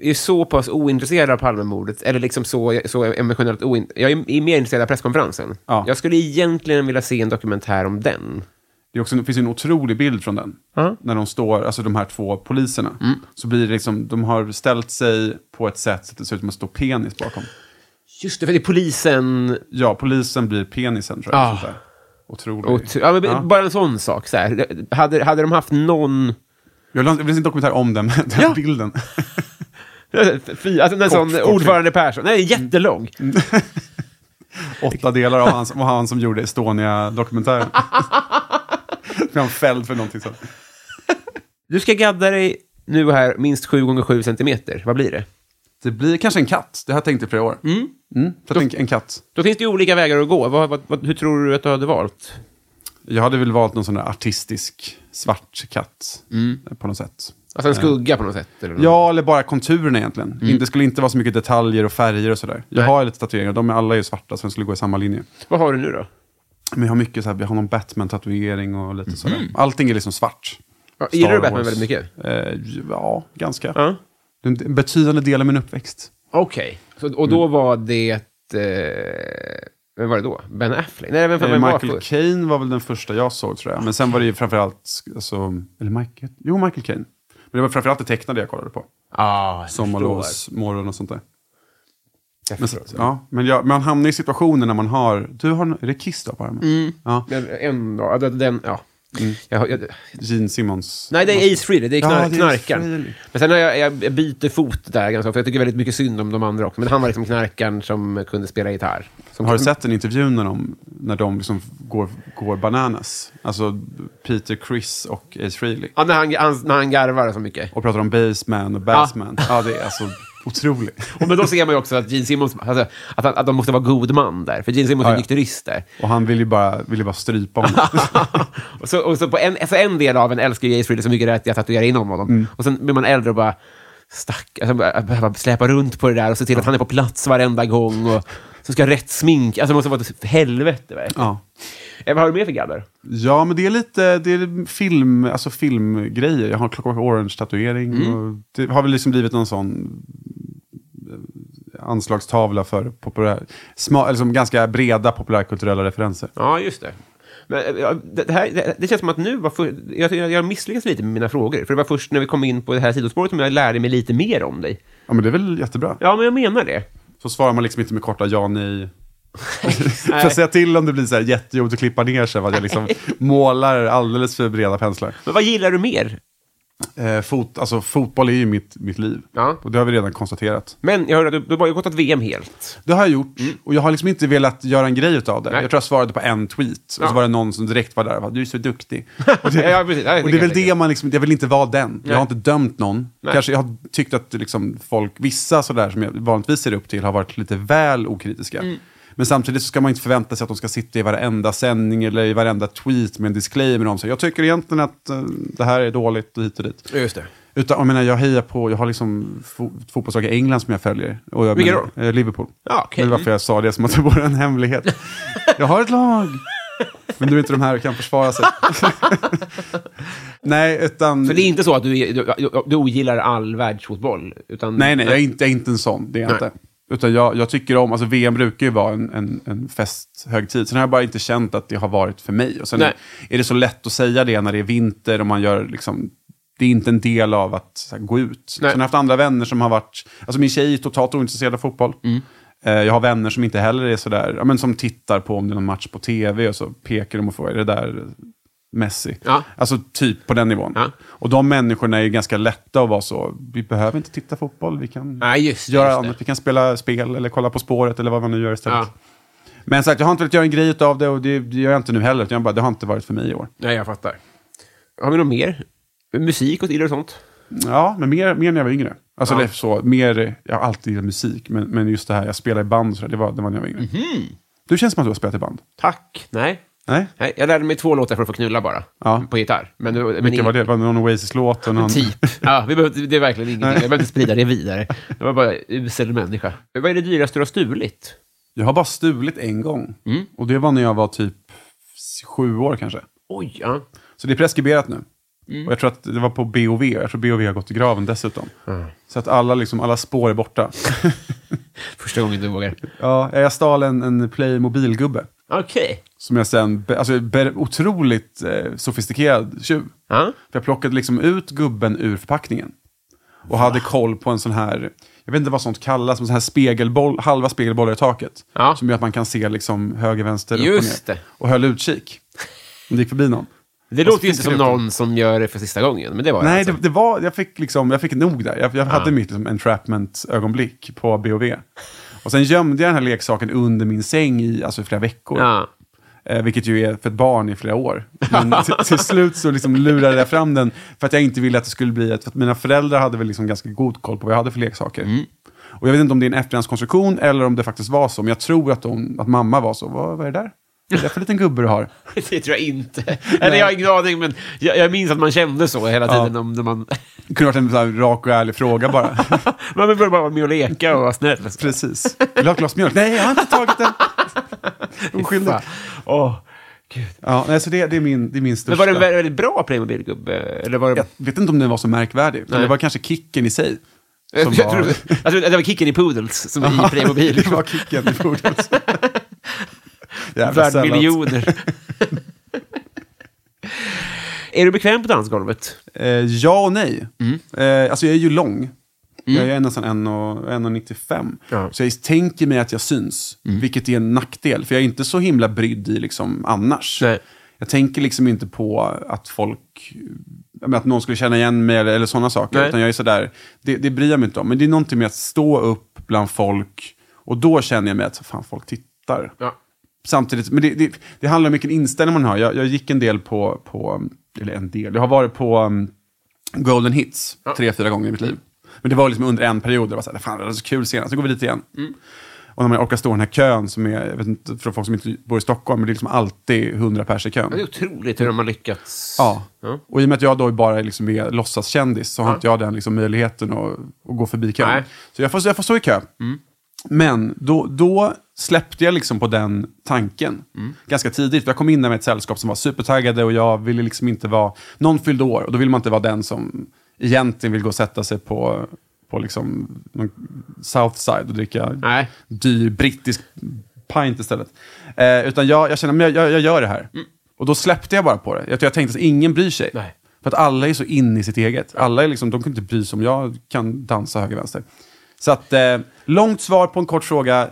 är så pass ointresserad av Palmemordet, eller liksom så, så emotionellt oint... Jag är, är mer intresserad av presskonferensen.
Ja.
Jag skulle egentligen vilja se en dokumentär om den.
Det, är också, det finns ju en otrolig bild från den. När de står, alltså de här två poliserna.
Mm.
Så blir det liksom, de har ställt sig på ett sätt så att det ser ut som att stå penis bakom.
Just det, för det är polisen.
Ja, polisen blir penisen tror jag.
Ah.
sånt där. Otrolig.
Och, ja, men, Bara en sån sak. Så här. Hade, hade de haft någon...
Jag vill ha- det finns en dokumentär om den, <laughs> den
Ja. <laughs>
bilden.
Fy, alltså en sån
kort.
ordförande Persson. Nej, jättelång.
Åtta delar av han, som- var han som
<laughs>
gjorde Estonia-dokumentären. Blev han fälld för någonting sånt.
Du ska gadda dig nu och här minst 7 gånger 7 centimeter. Vad blir det?
Det blir kanske en katt. Det här tänkte jag i flera år. Mm. så jag tänker en katt.
Då finns det ju olika vägar att gå. Vad, vad, vad, hur tror du att du hade valt?
Jag hade väl valt någon sån där artistisk svart katt.
Mm.
eh, På något sätt.
Alltså en skugga på något sätt? Eller något.
Ja, eller bara konturerna egentligen. Inte- Det skulle inte vara så mycket detaljer och färger och sådär. Jag
Mm. Nej.
har lite tatueringar, de är alla är ju svarta så de skulle gå i samma linje.
Vad har du nu då?
Men jag har mycket så här, jag har någon Batman-tatuering och lite sådär. Allting är liksom svart.
Mhm. Ja, gillar
Star
du Batman
Wars.
väldigt mycket?
Eh, ja, ganska.
Ja.
Det är En betydande del av min uppväxt.
Okej. Så- Och då var det... Eh, vem var det då? Ben Affleck? Nej, vem, fan-
Eh,
vem var
Michael
det?
Caine var väl den första jag såg tror jag. Men sen var det ju framförallt, alltså, eller Michael, jo Michael Caine. Men det var framförallt det tecknade jag kollade på.
Ah, jag förstår.
Sommarlovsmorgon och sånt där.
Jag
Men,
förstår.
ja, men jag, man hamnar i situationer när man har, du har, är det Kiss du har på armen?
Mm.
Ja,
Men en dag, den, den ja.
Mm.
Jag, jag,
Gene Simmons.
nej, det är Ace Frehley, det är
Ja,
knar,
det är Ace
knarkaren.
Frehley.
Men sen har jag, jag, jag byter fot där ganska ofta, för jag tycker väldigt mycket synd om de andra också. Men han var liksom knarkaren som kunde spela gitarr. Som
Har du sett en intervju när de, när de liksom går, går bananas? Alltså Peter, Chris och Ace Frehley.
Ja, när han, han, när han garvar så mycket.
Och pratar om Baseman och Bassman. Ja, det är alltså otroligt.
Och, men då ser man ju också att Gene Simmons, alltså, att, han- att de måste vara god man där, för Gene Simmons
Ja,
är
ja.
nykterist där.
Och han vill ju bara, vill ju bara strypa honom.
och så, och så, på en, så en del av en älskar ju Ace Frehley så mycket att jag tatuerar in honom.
Mm.
Och sen blir man äldre och bara, stack, alltså, bara- behöva släpa runt på det där och se till att han är på plats varenda gång. Och, så ska jag rätt smink. Alltså det måste vara ett helvete. verkligen.
Ja.
Eh, Vad har du mer för gaddar?
ja, men det är lite det är film, alltså filmgrejer. Jag har Clockwork Orange-tatuering. och Det har väl liksom blivit någon sån eh, anslagstavla för populär, sma, eller som ganska breda populärkulturella referenser.
Ja, just det. Men, eh, ja, det, det här, det, det känns som att nu var för, jag, jag jag har misslyckats lite med mina frågor. För det var först när vi kom in på det här sidospåret som jag lärde mig lite mer om dig.
Ja, men det är väl jättebra.
Ja, men jag menar det.
Så svarar man liksom inte med korta ja, nej. Får jag säga till om det blir så här jättejobbigt att klippa ner sig, för att jag liksom målar alldeles för breda penslar.
Men vad gillar du mer?
Eh, fot, alltså, fotboll är ju mitt, mitt liv.
Ja.
Och det har vi redan konstaterat.
Men jag hörde att du, du har bojkottat VM helt.
Det har jag gjort. Och jag har liksom inte velat göra en grej av det.
Mm. Nej.
Jag tror jag svarade på en tweet. Och
Ja.
så var det någon som direkt var där och bara, du är så duktig. Och
<laughs>
det,
Ja, precis. Ja, det
och
kan
det är
jag
väl
tänka.
det man liksom, jag vill inte vara den. Jag
Nej.
har inte dömt någon.
Nej.
Kanske jag har tyckt att liksom folk, vissa sådär som jag vanligtvis ser upp till, har varit lite väl okritiska.
Mm.
Men samtidigt så ska man inte förvänta sig att de ska sitta i varenda sändning eller i varenda tweet med en disclaimer om sig. Jag tycker egentligen att eh, det här är dåligt och hit och dit.
Just det.
Utan, jag menar, jag hejar på, jag har liksom fo- ett fotbollslag i England som jag följer. Och jag,
Vilka
menar, eh, Liverpool.
Ja, okej.
Men varför jag sa det som att det vore en hemlighet.
<laughs>
jag har ett lag! Men nu är inte de här och kan
<laughs>
försvara sig. nej, utan...
Så det är inte så att du, du, du, du ogillar all världsfotboll? Utan,
Nej, nej, jag är inte, jag är inte en sån. Det är jag
Nej.
inte. Utan jag, jag tycker om, alltså VM brukar ju vara en, en, en festhögtid. Sen har jag bara inte känt att det har varit för mig. Och sen
Nej.
är, är det så lätt att säga det när det är vinter och man gör liksom, det är inte en del av att så här, gå ut.
Nej.
Sen har jag haft andra vänner som har varit, alltså min tjej är totalt ointresserad av fotboll.
Mm.
Eh, Jag har vänner som inte heller är sådär, ja, men som tittar på om det är någon match på tv och så pekar de och frågar, är det där Messi?
Ja.
Alltså typ på den nivån.
Ja.
Och de människorna är ju ganska lätta att vara så, vi behöver inte titta fotboll, vi kan
Nej, just det,
göra
just det.
annat. Vi kan spela spel eller kolla På spåret eller vad man nu gör istället.
Ja.
Men sagt, jag har inte velat göra en grej av det och det det gör jag inte nu heller. utan Jag bara, det har inte varit för mig i år.
Nej, jag fattar. Har vi något mer? Musik och gillar du sånt?
Ja, men mer, mer när jag var yngre. Alltså
Ja.
det är så, mer, jag har alltid gillat musik, men, men just det här, jag spelar i band och så där, det var, det var när jag var yngre. Du känns som att du har spelat i band.
Tack. Nej.
Nej?
Mhm. Nej, jag lärde mig två låtar för att få knulla bara.
Ja.
På gitarr. Men, men
Vilken
ing-
var det? Var det någon Oasis-låt? och Någon...
Typ. Ja, vi behövde, det är verkligen ingenting. Jag behöver inte sprida det vidare. Det var bara usel människa. Vad är det dyraste du har stulit?
Jag har bara stulit en gång.
Mm.
Och det var när jag var typ sju år kanske.
Oj, ja.
Så det är preskriberat nu. Och jag tror att det var på BOV. Jag tror BOV har gått i graven dessutom. Så att alla, liksom, alla spår
<laughs>
är borta.
Första gången du vågar.
ja, jag stal en, en Playmobil-gubbe.
Okej.
Som jag sen, be- alltså be- otroligt eh, sofistikerad tjuv.
Ja.
För jag plockade liksom ut gubben ur förpackningen. Och
Ah.
hade koll på en sån här, jag vet inte vad sånt kallas, men sån här spegelboll, halva spegelbollar i taket.
Ja.
Som gör att man kan se liksom höger, vänster,
Just
upp och
det.
ner. Och höll utkik. Om det gick förbi någon.
Det
Och så
låter ju inte som
fiskade jag upp
någon som gör det för sista gången, men det var
Nej,
alltså.
det, det var, jag, fick liksom, jag fick nog där. Jag, jag hade mitt liksom, entrapment-ögonblick på BOV. Och sen gömde jag den här leksaken under min säng i, alltså, i flera veckor.
Ja. <laughs>
Eh, vilket ju är för ett barn i flera år. Men till, till slut så liksom lurade jag fram den för att jag inte ville att det skulle bli ett... För att mina föräldrar hade väl liksom ganska god koll på vad jag hade för leksaker. Och jag vet inte om det är en efterhandskonstruktion eller om det faktiskt var så. Men jag tror att, de, att mamma var så. Vad, vad är det där? Vad är det för liten gubbe du har?
Det tror jag inte. Eller jag har ingen aning, men jag, jag minns att man kände så hela tiden. Om, när man, <laughs>
Det kunde varit en så här rak och ärlig fråga bara.
man vill bara vara med och leka och vara snäll.
Precis. Vill du ha ett glas mjölk? Nej, jag har inte tagit den. Oskyldig.
Fan. Åh.
Ja, nej, så det, det, är min, det är min
Men
största.
var det en väldigt bra Playmobil-gubbe? Eller var det...
Jag vet inte om den var så märkvärdig. utan
Nej.
Det var kanske kicken i sig.
jag,
Som
tror,
var... <laughs>
jag tror att det var Kicken i Poodles som är i Playmobil.
det var kicken
<laughs>
i bordet. Jävla
Värd
sällan.
miljoner. <laughs> är du bekväm på dansgolvet?
Eh, ja och nej.
Mm.
Eh, alltså jag är ju lång. Jag är nästan 1,95.
Ja. Mm.
Så jag tänker mig att jag syns, vilket är en nackdel. För jag är inte så himla brydd i liksom annars.
Nej.
Jag tänker liksom inte på att folk, jag menar, att någon skulle känna igen mig eller, eller sådana saker.
Nej.
Utan jag är sådär, det, det bryr jag mig inte om. Men det är någonting med att stå upp bland folk och då känner jag mig att fan, folk tittar.
Ja.
Samtidigt, men det, det, det handlar om vilken inställning man har. Jag, jag gick en del på, på, eller en del, jag har varit på um, Golden Hits tre, fyra gånger i mitt liv. Men det var liksom under en period, det var så här, fan det var så kul senast, så går vi dit igen.
Mm.
Och när man orkar stå i den här kön, som är, jag vet inte, för folk som inte bor i Stockholm, men det är liksom alltid 100 pers i kön.
Det är otroligt hur de har lyckats.
Ja. Och i och med att jag då bara liksom är låtsaskändis så har inte jag den liksom möjligheten att, att gå förbi kön.
Nej. Mm.
Så jag får, jag får stå i kö. Men då, då släppte jag liksom på den tanken
Mm.
ganska tidigt. För Jag kom in där med ett sällskap som var supertaggade och jag ville liksom inte vara... Någon fyllde år och då vill man inte vara den som egentligen vill gå och sätta sig på, på liksom någon Southside och dricka
Nej.
dyr brittisk pint istället. Eh, utan jag, jag kände, men jag, jag, jag gör det här. Och då släppte jag bara på det. Jag, jag tänkte att ingen bryr sig.
Mm. Nej.
För att alla är så inne i sitt eget. Alla är liksom, de kan inte bry sig om jag kan dansa höger vänster. Så att, eh, långt svar på en kort fråga,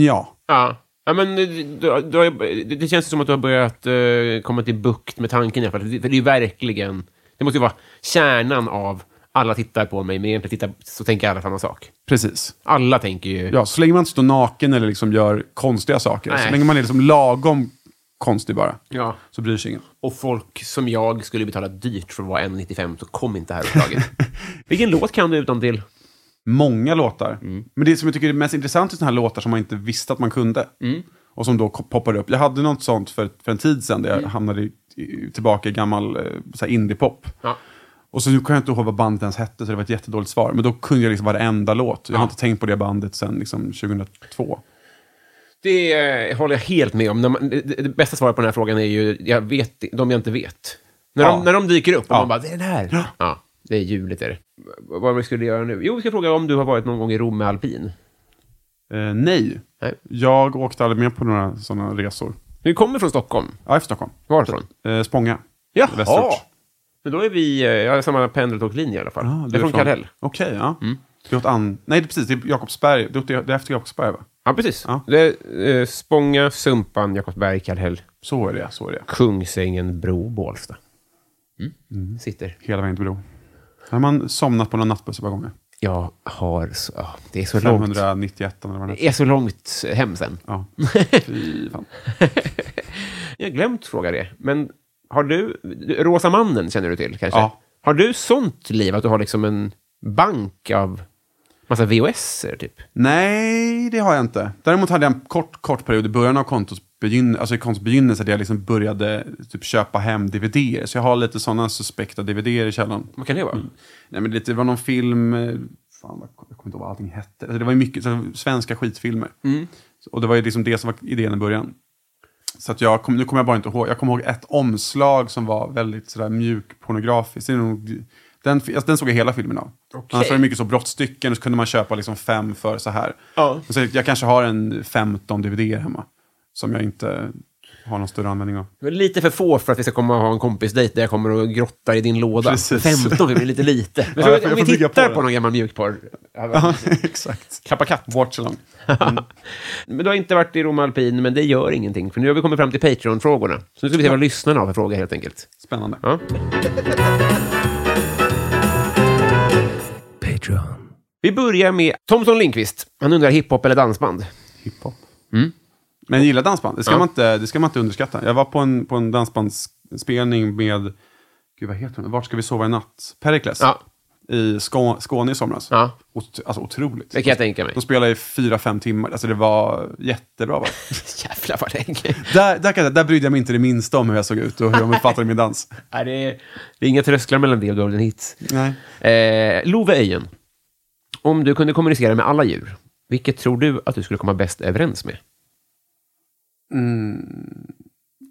ja.
Ja. Ja, men du, du, du har, ju- det- det känns ju som att du har börjat eh, komma till bukt med tanken i alla fall. Det, för det är ju verkligen... Det måste ju vara kärnan av alla tittar på mig, men egentligen tittar, så tänker alla samma sak.
Precis.
Alla tänker ju...
Ja, så länge man inte står naken eller liksom gör konstiga saker.
Nej.
Så länge man är liksom lagom konstig bara.
Ja.
Så bryr sig ingen.
Och folk som jag skulle betala dyrt för att vara 1,95, så kom inte här uppdraget. <laughs> Vilken låt kan du utan till?
Många låtar.
Mm.
Men det som jag tycker är mest intressant är sådana här låtar som man inte visste att man kunde.
Mm.
Och som då ko- poppar upp. Jag hade något sånt för, för en tid sedan där
Mm.
jag hamnade i, i, tillbaka i gammal eh, så här indiepop.
Ja.
Och så nu kan jag inte ihåg vad bandet ens hette, så det var ett jättedåligt svar. Men då kunde jag liksom varenda låt. Jag har inte tänkt på det bandet sedan liksom 2002.
Det eh, håller jag helt med om. När man, det, det bästa svaret på den här frågan är ju jag vet, de jag inte vet. När, de,
Ja.
när de dyker upp och
Ja.
man bara, det är den här. Ja. det är hjulet är det. V- Vad var det vi skulle göra nu? Jo, vi ska fråga om du har varit någon gång i Rom med alpin.
Eh, nej.
Nej.
jag åkte aldrig med på några sådana resor.
Du kommer från Stockholm.
Ja, efter Stockholm.
Varifrån?
Eh, Spånga. Västerort.
Men då är vi, eh, jag har samma pendeltågslinje i alla fall.
Ah,
det är från Kallhäll. Mm.
Okej, ja. Det är åt an... Nej, det är precis. Det är Jakobsberg. Det är åt- det är efter Jakobsberg, va?
Ja, precis.
Ja.
Det är eh, Spånga, Sumpan, Jakobsberg, Kallhäll,
Så är det, så är det.
Kungsängen, Bro, Bålsta. Mm.
Mm.
Sitter.
Hela vägen till Bro. Här har man somnat på någon nattbuss ett par gånger.
Jag har... Så, ja, det är så långt.
591 eller vad det
Det är så långt hem sen.
Ja. Fy fan.
<laughs> Jag har glömt fråga det, men har du... Rosa mannen känner du till kanske?
Ja.
Har du sånt liv att du har liksom en bank av massa VHS-er typ?
Nej, det har jag inte. Däremot hade jag en kort, kort period i början av kontos begyn- alltså i kontots begynnelse där jag liksom började typ köpa hem dvd Så jag har lite sådana suspekta dvd i källaren.
Vad kan det vara?
Nej, men lite, det var någon film, eh, fan, vad- jag kommer inte ihåg vad allting hette. Alltså, det var ju mycket så, här, svenska skitfilmer.
Mm.
Så- Och det var ju liksom det som var idén i början. Så att jag kom, nu kommer jag bara inte ihåg. Jag kommer ihåg ett omslag som var väldigt sådär mjuk pornografiskt. Det är nog- Den, fi- alltså, den såg jag hela filmen av. Annars var det mycket så brottstycken och så kunde man köpa liksom fem för så här.
Ja.
Och Så jag kanske har en 15 DVD hemma. som jag inte har någon större användning av.
Det är Lite för få för att vi ska komma och ha en kompisdejt där jag kommer och grottar i din låda.
Precis.
15 det blir lite lite.
<laughs>
Men
jag
om
får- jag
vi
får bygga
tittar
på
på,
det.
någon gammal mjukporr.
<laughs> Ja, exakt.
Kappa katt.
Watch along.
Mm. Men du har inte varit i Rom Alpin, men det gör ingenting. För nu har vi kommit fram till Patreon-frågorna. Så nu ska vi se vad lyssnarna har för fråga helt enkelt.
Spännande.
Ja.
Patreon.
Vi börjar med Thomson Lindqvist. Han undrar hiphop eller dansband.
Hiphop. Men jag gillar dansband. Det ska, man inte, det ska man inte underskatta. Jag var på en, på en dansbandsspelning med, gud vad heter hon? Vart ska vi sova i natt? Perikles.
Ja.
I Skå, Skåne i somras.
Ja.
Ot, alltså otroligt.
Det kan jag tänka mig.
De spelade i fyra, fem timmar. Alltså det var jättebra. Va?
<laughs> Jävlar vad länge.
<laughs> där, där, kan jag- där brydde jag mig inte det minsta om hur jag såg ut och hur de uppfattade
<laughs>
min dans.
Nej, det, är, det är inga trösklar mellan det och Golden Hits.
Nej.
Eh, Love Öjen. Om du kunde kommunicera med alla djur, vilket tror du att du skulle komma bäst överens med?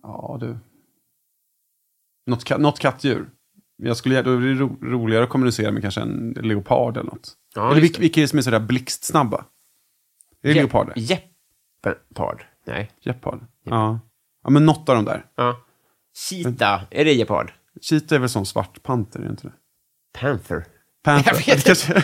Ja, du. Något, ka- något kattdjur. Jag skulle, då är det ro, roligare att kommunicera med kanske en leopard eller något.
Ja,
eller
just
vilka,
det.
vilka är det som är sådär blixtsnabba? Är det
Jep-
leoparder?
Jeppard? Nej.
Jeopard. Ja. ja, men något av de där.
Ja. Cheetah. Är det gepard?
Cheetah är väl som svart panter, är det inte det?
Panther.
Panther.
Jag vet
<laughs> Kanske-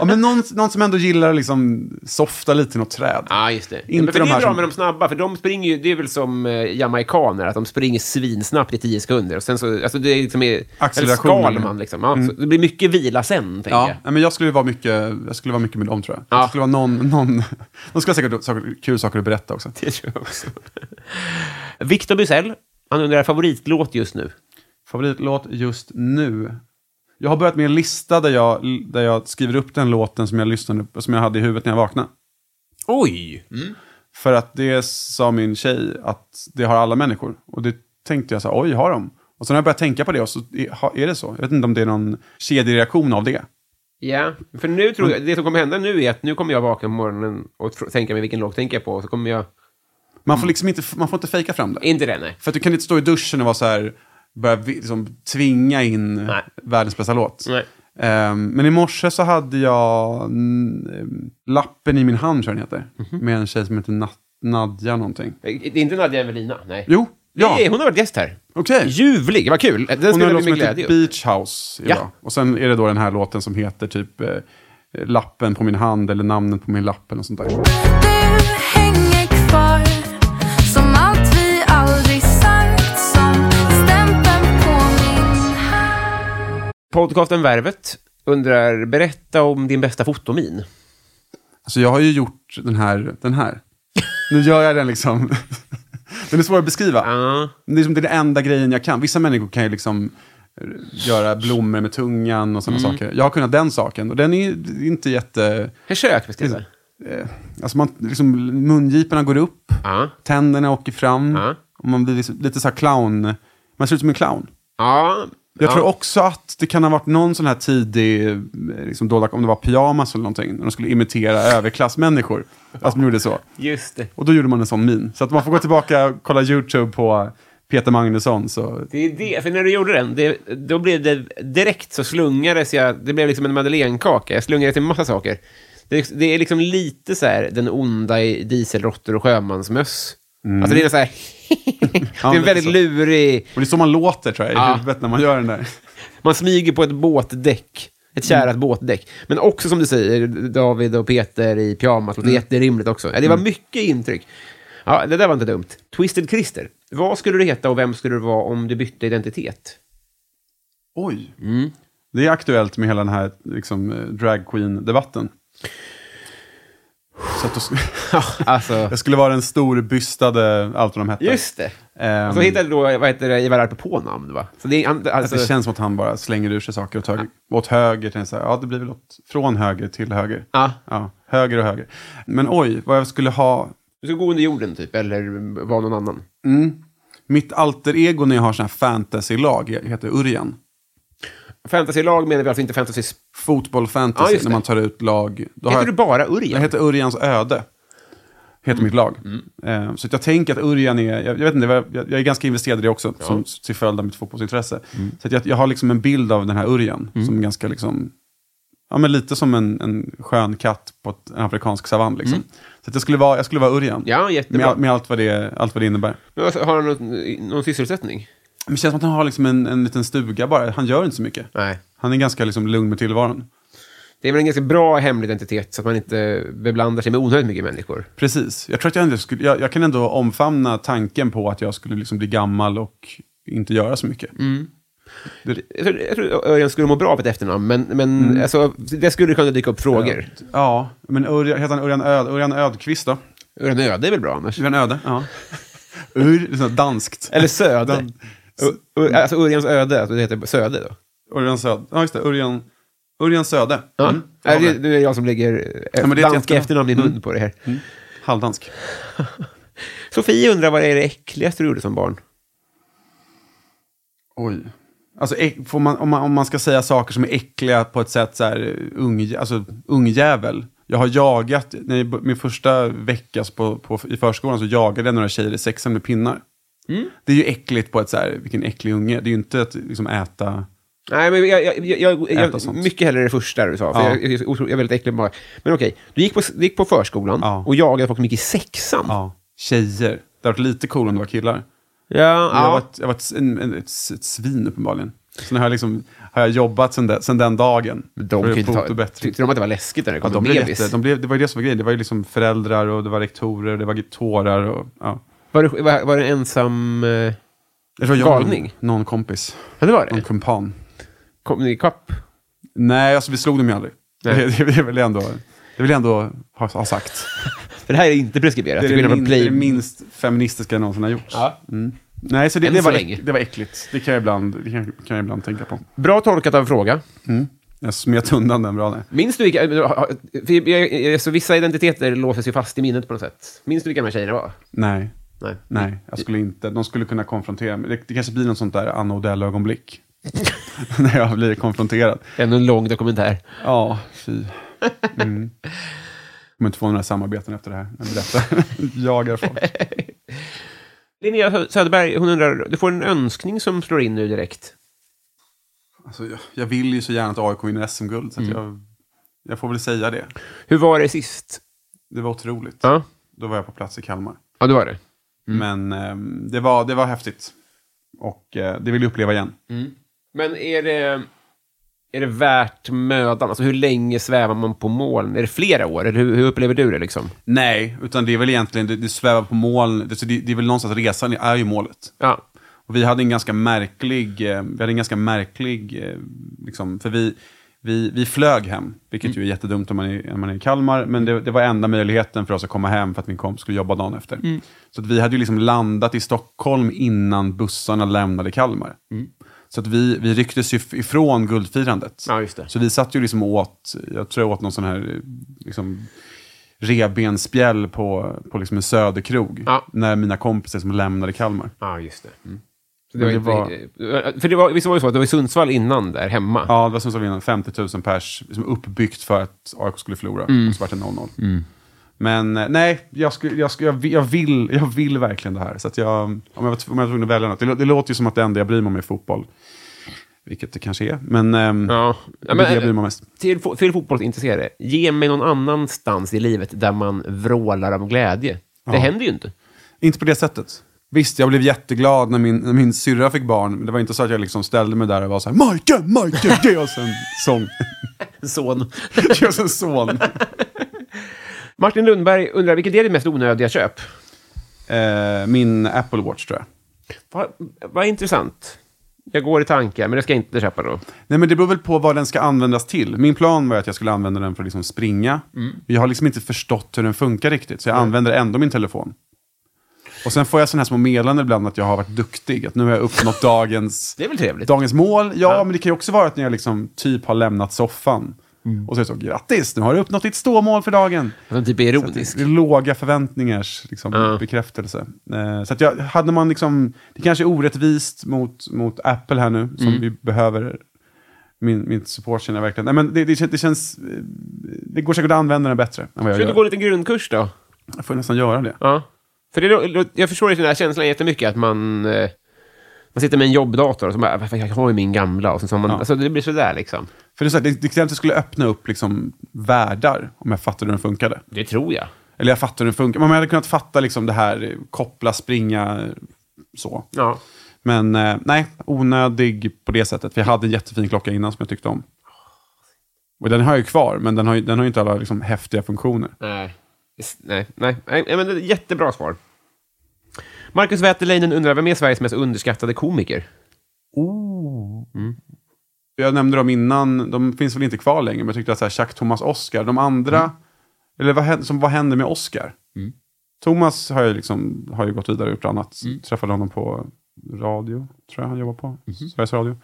ja, men någon, någon som ändå gillar att liksom softa lite i något träd.
Ja, just det.
Inte
men för
de
det
här
är bra
som-
med de snabba, för de springer ju, det är väl som eh, jamaikaner, att de springer svinsnabbt i tio sekunder. Och sen så, alltså det är liksom... i- Eller
Accelerationen. Mm.
Skalman, liksom. Ja, så det blir mycket vila sen, tänker
Ja,
jag. <laughs>
nej, men jag skulle, vara mycket, jag skulle vara mycket med dem tror jag.
Ja.
Jag skulle vara någon, någon, de skulle ha säkert saker, kul saker att berätta också.
Det tror jag också. Victor Bysell, han undrar favoritlåt just nu.
Favoritlåt just nu? Jag har börjat med en lista där jag, där jag skriver upp den låten som jag, lyssnade, som jag hade i huvudet när jag vaknade.
Oj!
För att det sa min tjej att det har alla människor. Och det tänkte jag så här, oj, har de? Och sen har jag börjat tänka på det och så är, ha- är det så. Jag vet inte om det är någon kedjereaktion av det.
Ja, för nu tror
Mm.
jag, det som kommer hända nu är att nu kommer jag vakna på morgonen och tr- tänka mig vilken låt tänker jag på, och så kommer jag...
Man får liksom inte, man får inte fejka fram det.
Inte den, nej.
För att du kan inte stå i duschen och vara så här, börja vi- liksom, tvinga in
Nej.
världens bästa låt.
Nej.
Ehm, men i morse så hade jag mm, ehm, Lappen i min hand, tror jag den heter.
Mhm.
Med en tjej som heter Nat- Nadja någonting.
Det är inte Nadja Evelina, nej.
Jo, ja,
Nej, hon har varit gäst här.
okej.
Ljuvlig, vad kul! Den
Hon har en
spelar vi
låt som
med
heter
glädje.
Beach House idag.
Ja.
Och sen är det då den här låten som heter typ eh, Lappen på min hand eller Namnet på min lapp eller något sånt där.
Du hänger kvar som allt vi aldrig sagt som stämpeln på min hand
Podcasten Värvet undrar, berätta om din bästa fotomin.
Alltså jag har ju gjort den här, den här. Nu gör jag den liksom. <laughs> Den är svår att beskriva.
Ja.
Det är, liksom, det är den enda grejen jag kan. Vissa människor kan ju liksom eh, göra blommor med tungan och sådana
Mm.
saker. Jag har kunnat den saken och den är ju inte jätte...
Försök beskriva.
Eh, alltså man, liksom, mungiporna går upp,
Ja.
tänderna åker fram
Ja.
och man blir liksom, lite så här clown... Man ser ut som en clown.
Ja.
Jag
ja.
tror också att det kan ha varit någon sån här tidig, eh, liksom, dolda, om det var pyjamas eller någonting, när de skulle imitera överklassmänniskor. Alltså de gjorde så.
Just det.
Och då gjorde man en sån min. Så att man får gå tillbaka och kolla YouTube på Peter Magnusson. Så
Det är det, för när du gjorde den, det, då blev det direkt så slungades jag, det blev liksom en madeleinekaka, jag slungades i massa saker. Det, det är liksom lite så här den onda i dieselråttor och sjömansmöss. Alltså det är så <laughs> här, det är en
lite
väldigt
så.
lurig,
Och det är så man låter tror jag i
Ja.
huvudet när man gör den där.
man smyger på ett båtdäck. Ett
Mm.
kärat båtdäck. Men också som du säger, David och Peter i pyjamas,
Mm.
det är jätterimligt också. Ja, det var mycket intryck. Ja, det där var inte dumt. Twisted Christer, vad skulle du heta och vem skulle du vara om du bytte
<laughs>
identitet?
Oj.
Mm.
Det är aktuellt med hela den här liksom, eh, drag queen debatten Så att då, sk-
Alltså...
<laughs> jag skulle vara den storbystade, allt vad de hette.
Just det.
Ehm,
Och så hittade då, vad heter det, Ivar Arpe på namn, va? Så det, är- han, alltså,
att det känns som att han bara slänger ur sig saker åt höger. Åt höger till så här, ja det blir väl åt, från höger till höger.
Ja.
ja. Höger och höger. Men oj, vad jag skulle ha.
Du ska gå under jorden, typ, eller vara någon annan.
Mitt alter ego när jag har sån här fantasy-lag heter Urjan.
Fantasylag menar vi alltså inte fantasy...
Fotboll
Ja,
fantasy,
just det.
när man tar ut lag. Då har
Heter
jag-
du bara
Jag
Urjan?
heter Urjans öde. Heter mitt lag.
Mm.
Eh, Så att jag tänker att Urjan är, jag, jag vet inte, jag, jag är ganska investerad i det också, som, till
Mm.
följd av mitt fotbollsintresse. Så att jag, jag har liksom en bild av den här Urjan, som ganska liksom, ja, ja, men lite som en, en skön katt på ett, en afrikansk savann. Liksom. Så att jag, skulle vara, jag skulle vara Urjan.
Mm. Ja, jättebra.
med, all- med allt, vad det, allt vad det innebär.
Men alltså, har han någon, någon sysselsättning?
Men det känns som att han har liksom en, en liten stuga bara. Han gör inte så mycket.
Nej.
Han är ganska liksom, lugn med tillvaron.
Det är väl en ganska bra hemlig identitet så att man inte beblandar sig med onödigt mycket människor.
Precis. Jag tror att jag ändå skulle, jag, jag kan ändå omfamna tanken på att jag skulle liksom bli gammal och inte göra så mycket.
Mm. Jag tror, jag tror Örjan skulle må bra av ett efternamn, men, men
Mm.
alltså, det skulle kunna dyka upp frågor.
Ja, men Örjan, heter han Örjan, Öd, Örjan Ödqvist då?
Örjan Öde är väl bra annars?
Örjan Öde?
<laughs>
Ja. Ur, liksom danskt.
Eller Söde.
<laughs> Den-
Ö- Ö- Alltså Örjans öde, alltså, det heter Söde då.
Örjan Söde. Ja, just det. Örjan, Örjan Söde.
Ja.
Mm.
Nej,
Ja,
det, nu är det jag som lägger ja,
Ja, men det är ett
danska
jättebra. Mm.
efternamn i mun på det här.
Halvdansk.
Sofie undrar vad är det äckligaste du gjorde som barn?
Oj. Alltså, äck- får man, om, man, om man ska säga saker som är äckliga på ett sätt, så här, eh, ung, alltså, ungjävel. Jag har jagat, när jag, bo- min första vecka på, på, i förskolan så jagade jag några tjejer i sexan med pinnar.
Mm.
Det är ju äckligt på ett så här, vilken äcklig unge. Det är ju inte att liksom äta...
Nej, men jag, jag, jag, jag,
Äta
jag
sånt.
mycket hellre det första du sa, för
Ja.
jag, jag, är så otro- jag är väldigt äcklig bara. Men okej, du gick på, du gick på förskolan
Ja.
och jagade folk som gick i sexan.
Ja, tjejer. Det hade varit lite coolare om det var killar.
Ja,
Men Jag
ja.
var, ett, jag var ett, en, en, ett, s- ett svin uppenbarligen. Sen har jag, liksom, har jag jobbat sen, de, sen den dagen.
De
För
kunde inte
bot och
ta, typ
bättring.
tyckte de att det var läskigt när det
Ja,
kom
de
en
blev
bebis?
jätte, de blev, det var ju det som var grejen. Det var ju liksom föräldrar och det var rektorer, det var tårar och... Ja.
Var, du, var, var det ensam... eh,
Jag tror jag och
Galning?
Någon, någon kompis.
Ja, det var det.
Någon kumpan.
Kom ni ikapp?
Nej, alltså vi slog dem ju aldrig.
Nej.
Det, det, det vill jag ändå, det vill jag ändå ha, ha sagt.
För det här är inte preskriberat.
Det
till
är det,
skillnad från
minst, det,
Play-
är det minst feministiska jag någonsin har gjort. Mm.
Ja.
Nej, så det,
Än
det,
så
var,
länge.
det var äckligt. Det kan jag ibland, det kan, kan jag ibland tänka på.
Bra tolkat av en fråga.
Jag smet undan den bra. där.
Minns du vilka... eh, för jag- jag- jag- Så vissa identiteter låses ju fast i minnet på något sätt. Minns du vilka de här tjejerna var?
Nej.
Nej.
Nej, jag skulle inte. De skulle kunna konfrontera mig. Det, det kanske blir något sånt där Anna Odell-ögonblick. <laughs> När jag blir konfronterad.
Ännu en lång dokumentär.
Ja, fy. Mm. Jag kommer inte få några samarbeten efter det här. Jag berättar. <laughs> Jagar folk.
Linnea Sö- Söderberg, hon undrar, du får en önskning som slår in nu direkt.
Alltså, jag, jag vill ju så gärna att AIK vinner SM-guld, så att jag, jag får väl säga det.
Hur var det sist?
Det var otroligt.
Ja,
Då var jag på plats i Kalmar.
ja det var det.
Men ehm, det, var, det var häftigt. Och eh, det vill jag uppleva igen.
Men är det, är det värt mödan? Alltså hur länge svävar man på moln? Är det flera år? Eller hur, hur upplever du det liksom?
Nej, utan det är väl egentligen, det, det svävar på moln. Det, så det, det är väl någonstans, resan är ju målet.
Ja.
Och vi hade en ganska märklig, eh, vi hade en ganska märklig, eh, liksom, för vi, vi, vi flög hem, vilket
Mm.
ju är jättedumt om man är, om man är i Kalmar, men det, det var enda möjligheten för oss att komma hem för att min kompis skulle jobba dagen efter.
Mm.
Så att vi hade ju liksom landat i Stockholm innan bussarna lämnade Kalmar.
Mm.
Så att vi, vi rycktes ju f- ifrån guldfirandet.
Ja, just det.
Så vi satt ju liksom och åt, jag tror jag åt någon sån här eh, liksom, revbensspjäll på, på liksom en söderkrog.
Ja.
När mina kompisar som lämnade Kalmar.
Ja, just det. Mm. Så
Men
det var
det
inte, för det var, visst var det så att det var i Sundsvall innan där hemma?
Ja, det var som sa vi innan, 50 000 pers, liksom uppbyggt för att AIK skulle förlora. Och så vart det 0-0. Men eh, nej, jag, skulle, jag, skulle, jag, vill, jag, vill, jag vill verkligen det här. Så att jag, om, jag var, tv- om jag var tvungen att välja något. Det, lå- det låter ju som att det enda jag bryr mig om är fotboll. Vilket det kanske är, men ehm,
Ja.
det
Ja,
är
men-
det jag bryr mig om mest.
Till, fo- till fotbollsintresserade, ge mig någon annanstans i livet där man vrålar av glädje. Det händer ju inte.
Inte på det sättet. Visst, jag blev jätteglad när min, när min syrra fick barn, men det var inte så att jag liksom ställde mig där och var så här, Majken, Majken, ge oss en sång. <laughs>
Son.
ge oss en son.
<laughs> Martin Lundberg undrar, vilket är det mest onödiga köp?
Eh, min Apple Watch tror jag.
Vad vad intressant. Jag går i tankar, men det ska jag inte köpa då.
Nej, men det beror väl på vad den ska användas till. Min plan var att jag skulle använda den för att liksom springa.
Mm.
Jag har liksom inte förstått hur den funkar riktigt, så jag använder ändå min telefon. Och sen får jag sådana här små meddelanden ibland att jag har varit duktig, att nu har jag uppnått <laughs> dagens,
Det är väl trevligt?
dagens mål. Ja, men det kan ju också vara att när jag liksom typ har lämnat soffan.
Mm.
Och så är det så, grattis, nu har du uppnått ditt ståmål för dagen.
Alltså, typ är
Så att
ironisk.
Det det är låga förväntningars liksom, bekräftelse. Eh, så att jag, hade man liksom, det kanske är orättvist mot, mot Apple här nu, som vi behöver min, min support känner jag verkligen. Nej, men det, det, kän- det känns, eh, det går säkert att använda den bättre än vad jag
Ska du
gör.
gå en liten grundkurs då?
Jag får nästan göra det.
Ja. För det, lå- lå- jag förstår ju den här känslan jättemycket, att man... eh, Man sitter med en jobbdator och så bara, "Fan, jag har ju min gamla. Och så, så man,
Ja.
alltså, det blir sådär liksom.
För det, är så här, det, det krävs att det skulle öppna upp liksom världar, om jag fattade hur den funkade.
Det tror jag.
Eller jag fattar hur den funkar. Men man hade kunnat fatta liksom det här, eh, koppla, springa, eh, så.
Ja.
Men eh, nej, onödig på det sättet. För jag hade en jättefin klocka innan som jag tyckte om. Och den har jag ju kvar, men den har ju, den har ju inte alla liksom, häftiga funktioner.
Nej. S- Nej, nej, nej, nej men det är ett jättebra svar. Marcus Wäterleinen undrar, vem är Sveriges mest underskattade komiker?
Jag nämnde dem innan, de finns väl inte kvar längre, men jag tyckte att så här, Jacques Thomas Oscar, de andra, eller vad, hän- som, vad hände med Oscar? Thomas har ju, liksom, har ju gått vidare och gjort annat. Träffade honom på radio, tror jag han jobbar på, Sveriges Radio.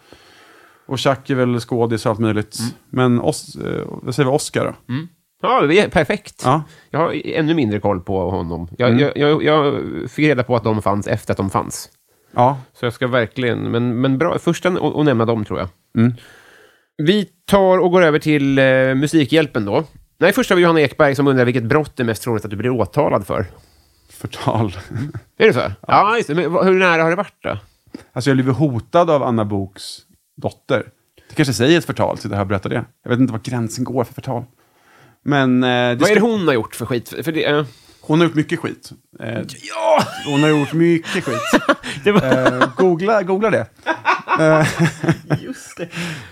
Och Jacques är väl skådis och allt möjligt. Men Os- eh, vad säger vi, Oscar då?
Ja, det är perfekt.
Ja. Mm.
Jag har ännu mindre koll på honom. Jag, jag, jag, jag fick reda på att de fanns efter att de fanns.
Ja,
Så jag ska verkligen... Men, men bra, första n- att att nämna dem tror jag. Vi tar och går över till eh, Musikhjälpen då. Nej, först har vi Johanna Ekberg som undrar vilket brott det är mest troligt att du blir åtalad för.
förtal.
Är det så? Ja, just det. Men vad- hur nära har det varit då?
Alltså jag blev hotad av Anna Boks dotter. Det kanske säger ett förtal till det här berättar det. Jag vet inte var gränsen går för förtal. Men eh, det
Vad är
ska-
det hon har gjort för skit? För för det, eh,
hon har gjort mycket skit. Eh, ja! Hon har gjort mycket skit.
<laughs> det var...
Eh, googla, googla det.
Just det.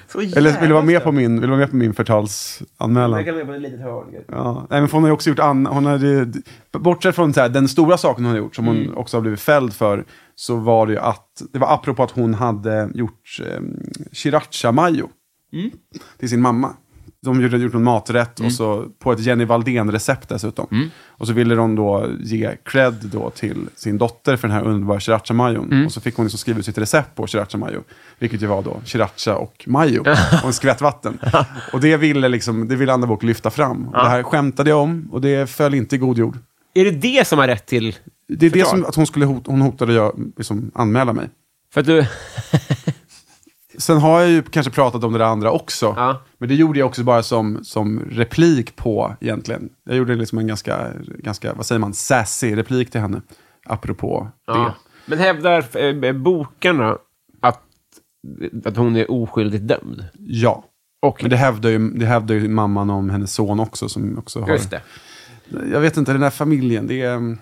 Så
Eller vill du
jävla
vara med
stört.
på min, vill du vara med på min förtalsanmälan?
Jag kan vara med på ett litet hörn.
Ja, nej, men för hon har ju också gjort an, hon hade, Bortsett från så här, den stora saken hon har gjort, som hon
Mm.
också har blivit fälld för, så var det ju att, det var apropå att hon hade gjort eh, sriracha-majo till sin mamma. De gjorde gjort någon maträtt, och så på ett Jenny Valdén-recept dessutom. Och så ville de då ge cred då till sin dotter för den här underbara sriracha-majon. Och så fick hon liksom skriva ut sitt recept på sriracha-majo, vilket ju var då sriracha och majo och en skvätt vatten. Och det ville, liksom, det ville Anna Book lyfta fram. Och det här skämtade jag om och det föll inte i god jord.
Är det det som har rätt till...
Det är det
Förklara.
som att hon, skulle hot, hon hotade jag, liksom, anmäla mig.
För att <laughs> du...
Sen har jag ju kanske pratat om det där andra också.
Ja.
Men det gjorde jag också bara som, som replik på egentligen. Jag gjorde liksom en ganska, ganska, vad säger man, sassy replik till henne. Apropå
Ja. Men hävdar eh, bokarna att, att hon är oskyldigt dömd?
det. Ja.
Och-
Men det hävdar, ju, det hävdar ju mamman om hennes son också. Som också har,
Just det.
Jag vet inte, den här familjen, det är... mm,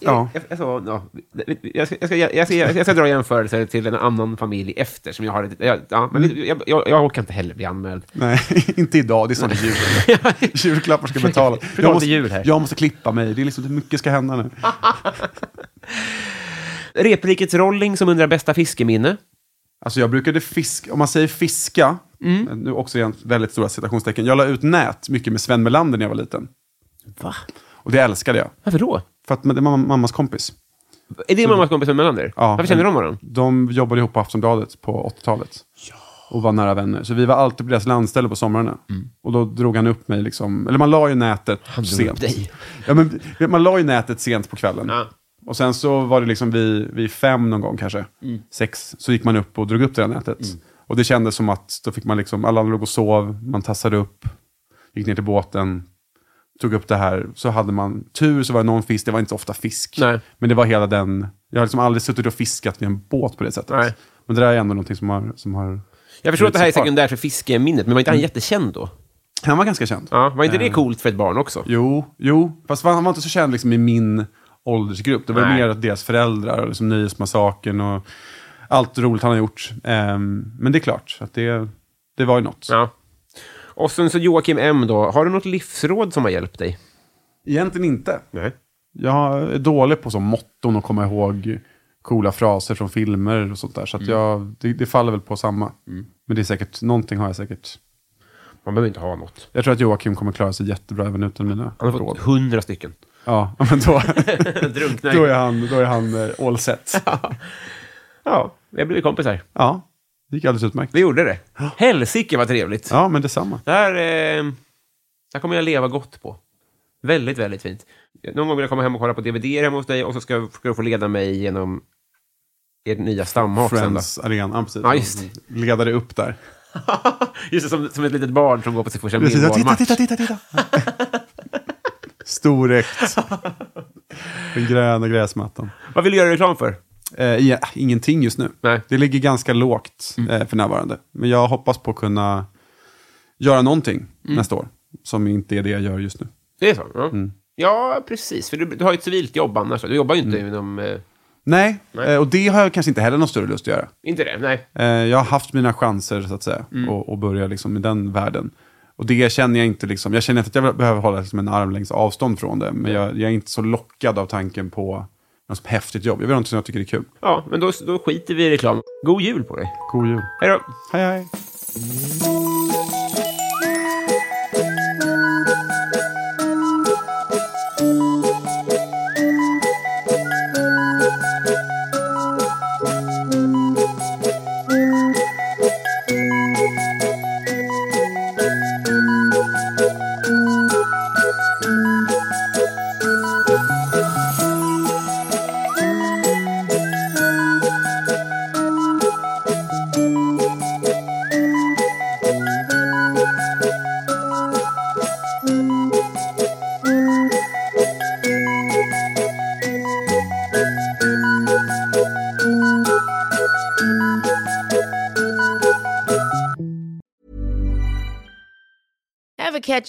Ja.
Jag, jag, jag, ja. jag, ska, jag, ska, jag, ska, jag ska dra jämförelser till en annan familj efter. Som jag, har, jag, ja, men jag, jag, jag orkar inte heller bli anmäld.
Nej, <laughs> inte idag. Det är snart jul.
<laughs>
Julklappar ska betalas.
Försök inte jul här.
jag måste klippa mig. Det är liksom, mycket ska hända nu.
Reprikets Rolling som undrar bästa fiskeminne.
Alltså jag brukade fiska, om man säger fiska, eh, nu också igen väldigt stora citationstecken. Jag la ut nät mycket med Sven Melander när jag var liten.
Va?
Och det älskade jag.
Varför då?
För att det var mam- mammas kompis.
Är det mammas kompis med Melander? Varför känner de varandra?
De jobbade ihop på Aftonbladet på 80-talet. Och var nära vänner. Så vi var alltid på deras landställe på somrarna.
Mm.
Och då drog han upp mig. Liksom, eller man la ju nätet sent.
dig.
Ja, men, man la ju nätet sent på kvällen.
Ja.
Och sen så var det liksom vi, vi fem någon gång kanske,
Mm.
sex, så gick man upp och drog upp det där nätet. Och det kändes som att då fick man liksom, alla låg och sov, man tassade upp, gick ner till båten, tog upp det här, så hade man tur så var det någon fisk, det var inte så ofta fisk.
Nej.
Men det var hela den, jag har liksom aldrig suttit och fiskat vid en båt på det sättet.
Nej.
Men det där är ändå någonting som har, som har...
Jag förstår att det här är Mm.
Kvar.
sekundärt för fiskeminnet, men var inte han jättekänd då?
Han var ganska känd.
Ja, var inte det coolt för ett barn också?
Jo, jo, fast han var inte så känd liksom i min åldersgrupp. Det var
Nej.
mer att deras föräldrar, och liksom Nöjesmassakern och allt roligt han har gjort. Ehm, men det är klart att det, det var ju något.
Ja. Och sen så Joakim M då. Har du något livsråd som har hjälpt dig?
Egentligen inte.
Nej.
Jag är dålig på som motton och komma ihåg coola fraser från filmer och sånt där. Så
Mm.
att jag, det, det faller väl på samma. Men det är säkert, någonting har jag säkert.
Man behöver inte ha något.
Jag tror att Joakim kommer klara sig jättebra även utan mina
Han har fått
råd.
hundra stycken.
Ja, <laughs> men då,
<laughs> Drunknar.
då är han, då är han eh, all set.
Ja, vi har blivit kompisar.
Ja, det gick alldeles utmärkt.
Vi gjorde det. Helsike vad trevligt.
Ja, men detsamma.
Det här, eh, det här kommer jag leva gott på. Väldigt, väldigt fint. Någon gång vill jag komma hem och kolla på DVD hemma hos dig och så ska, ska du få leda mig genom er nya stammat sen då.
Friends Arena, ja, precis.
Ja, just
Ledade upp där.
Just det, som, som ett litet barn som går på sin första
Precis, ja, titta,
Millwall-match.
titta, titta, titta. Storäckt. Den gröna gräsmattan.
Vad vill du göra reklam för?
Eh, ja, ingenting just nu.
Nej. Mm.
Det ligger ganska lågt eh, för närvarande. Men jag hoppas på att kunna göra någonting
Mm.
nästa år. Som inte är det jag gör just nu.
Det är så? Ja,
Mm.
ja precis. För du, du har ju ett civilt jobb annars. Du jobbar ju inte
Mm.
inom... eh,
Nej,
Nej.
Eh, och det har jag kanske inte heller någon större lust att göra.
inte det, nej.
Eh, jag har haft mina chanser så att säga och, och börja liksom i den världen. Och det känner jag inte, liksom, jag känner inte att jag behöver hålla liksom en armlängds avstånd från det. Men jag, jag är inte så lockad av tanken på något som häftigt jobb. Jag vill ha något som jag tycker är kul.
Ja, men då, då skiter vi i reklam. God jul på dig.
God jul.
Hej då.
Hej hej.
Ever catch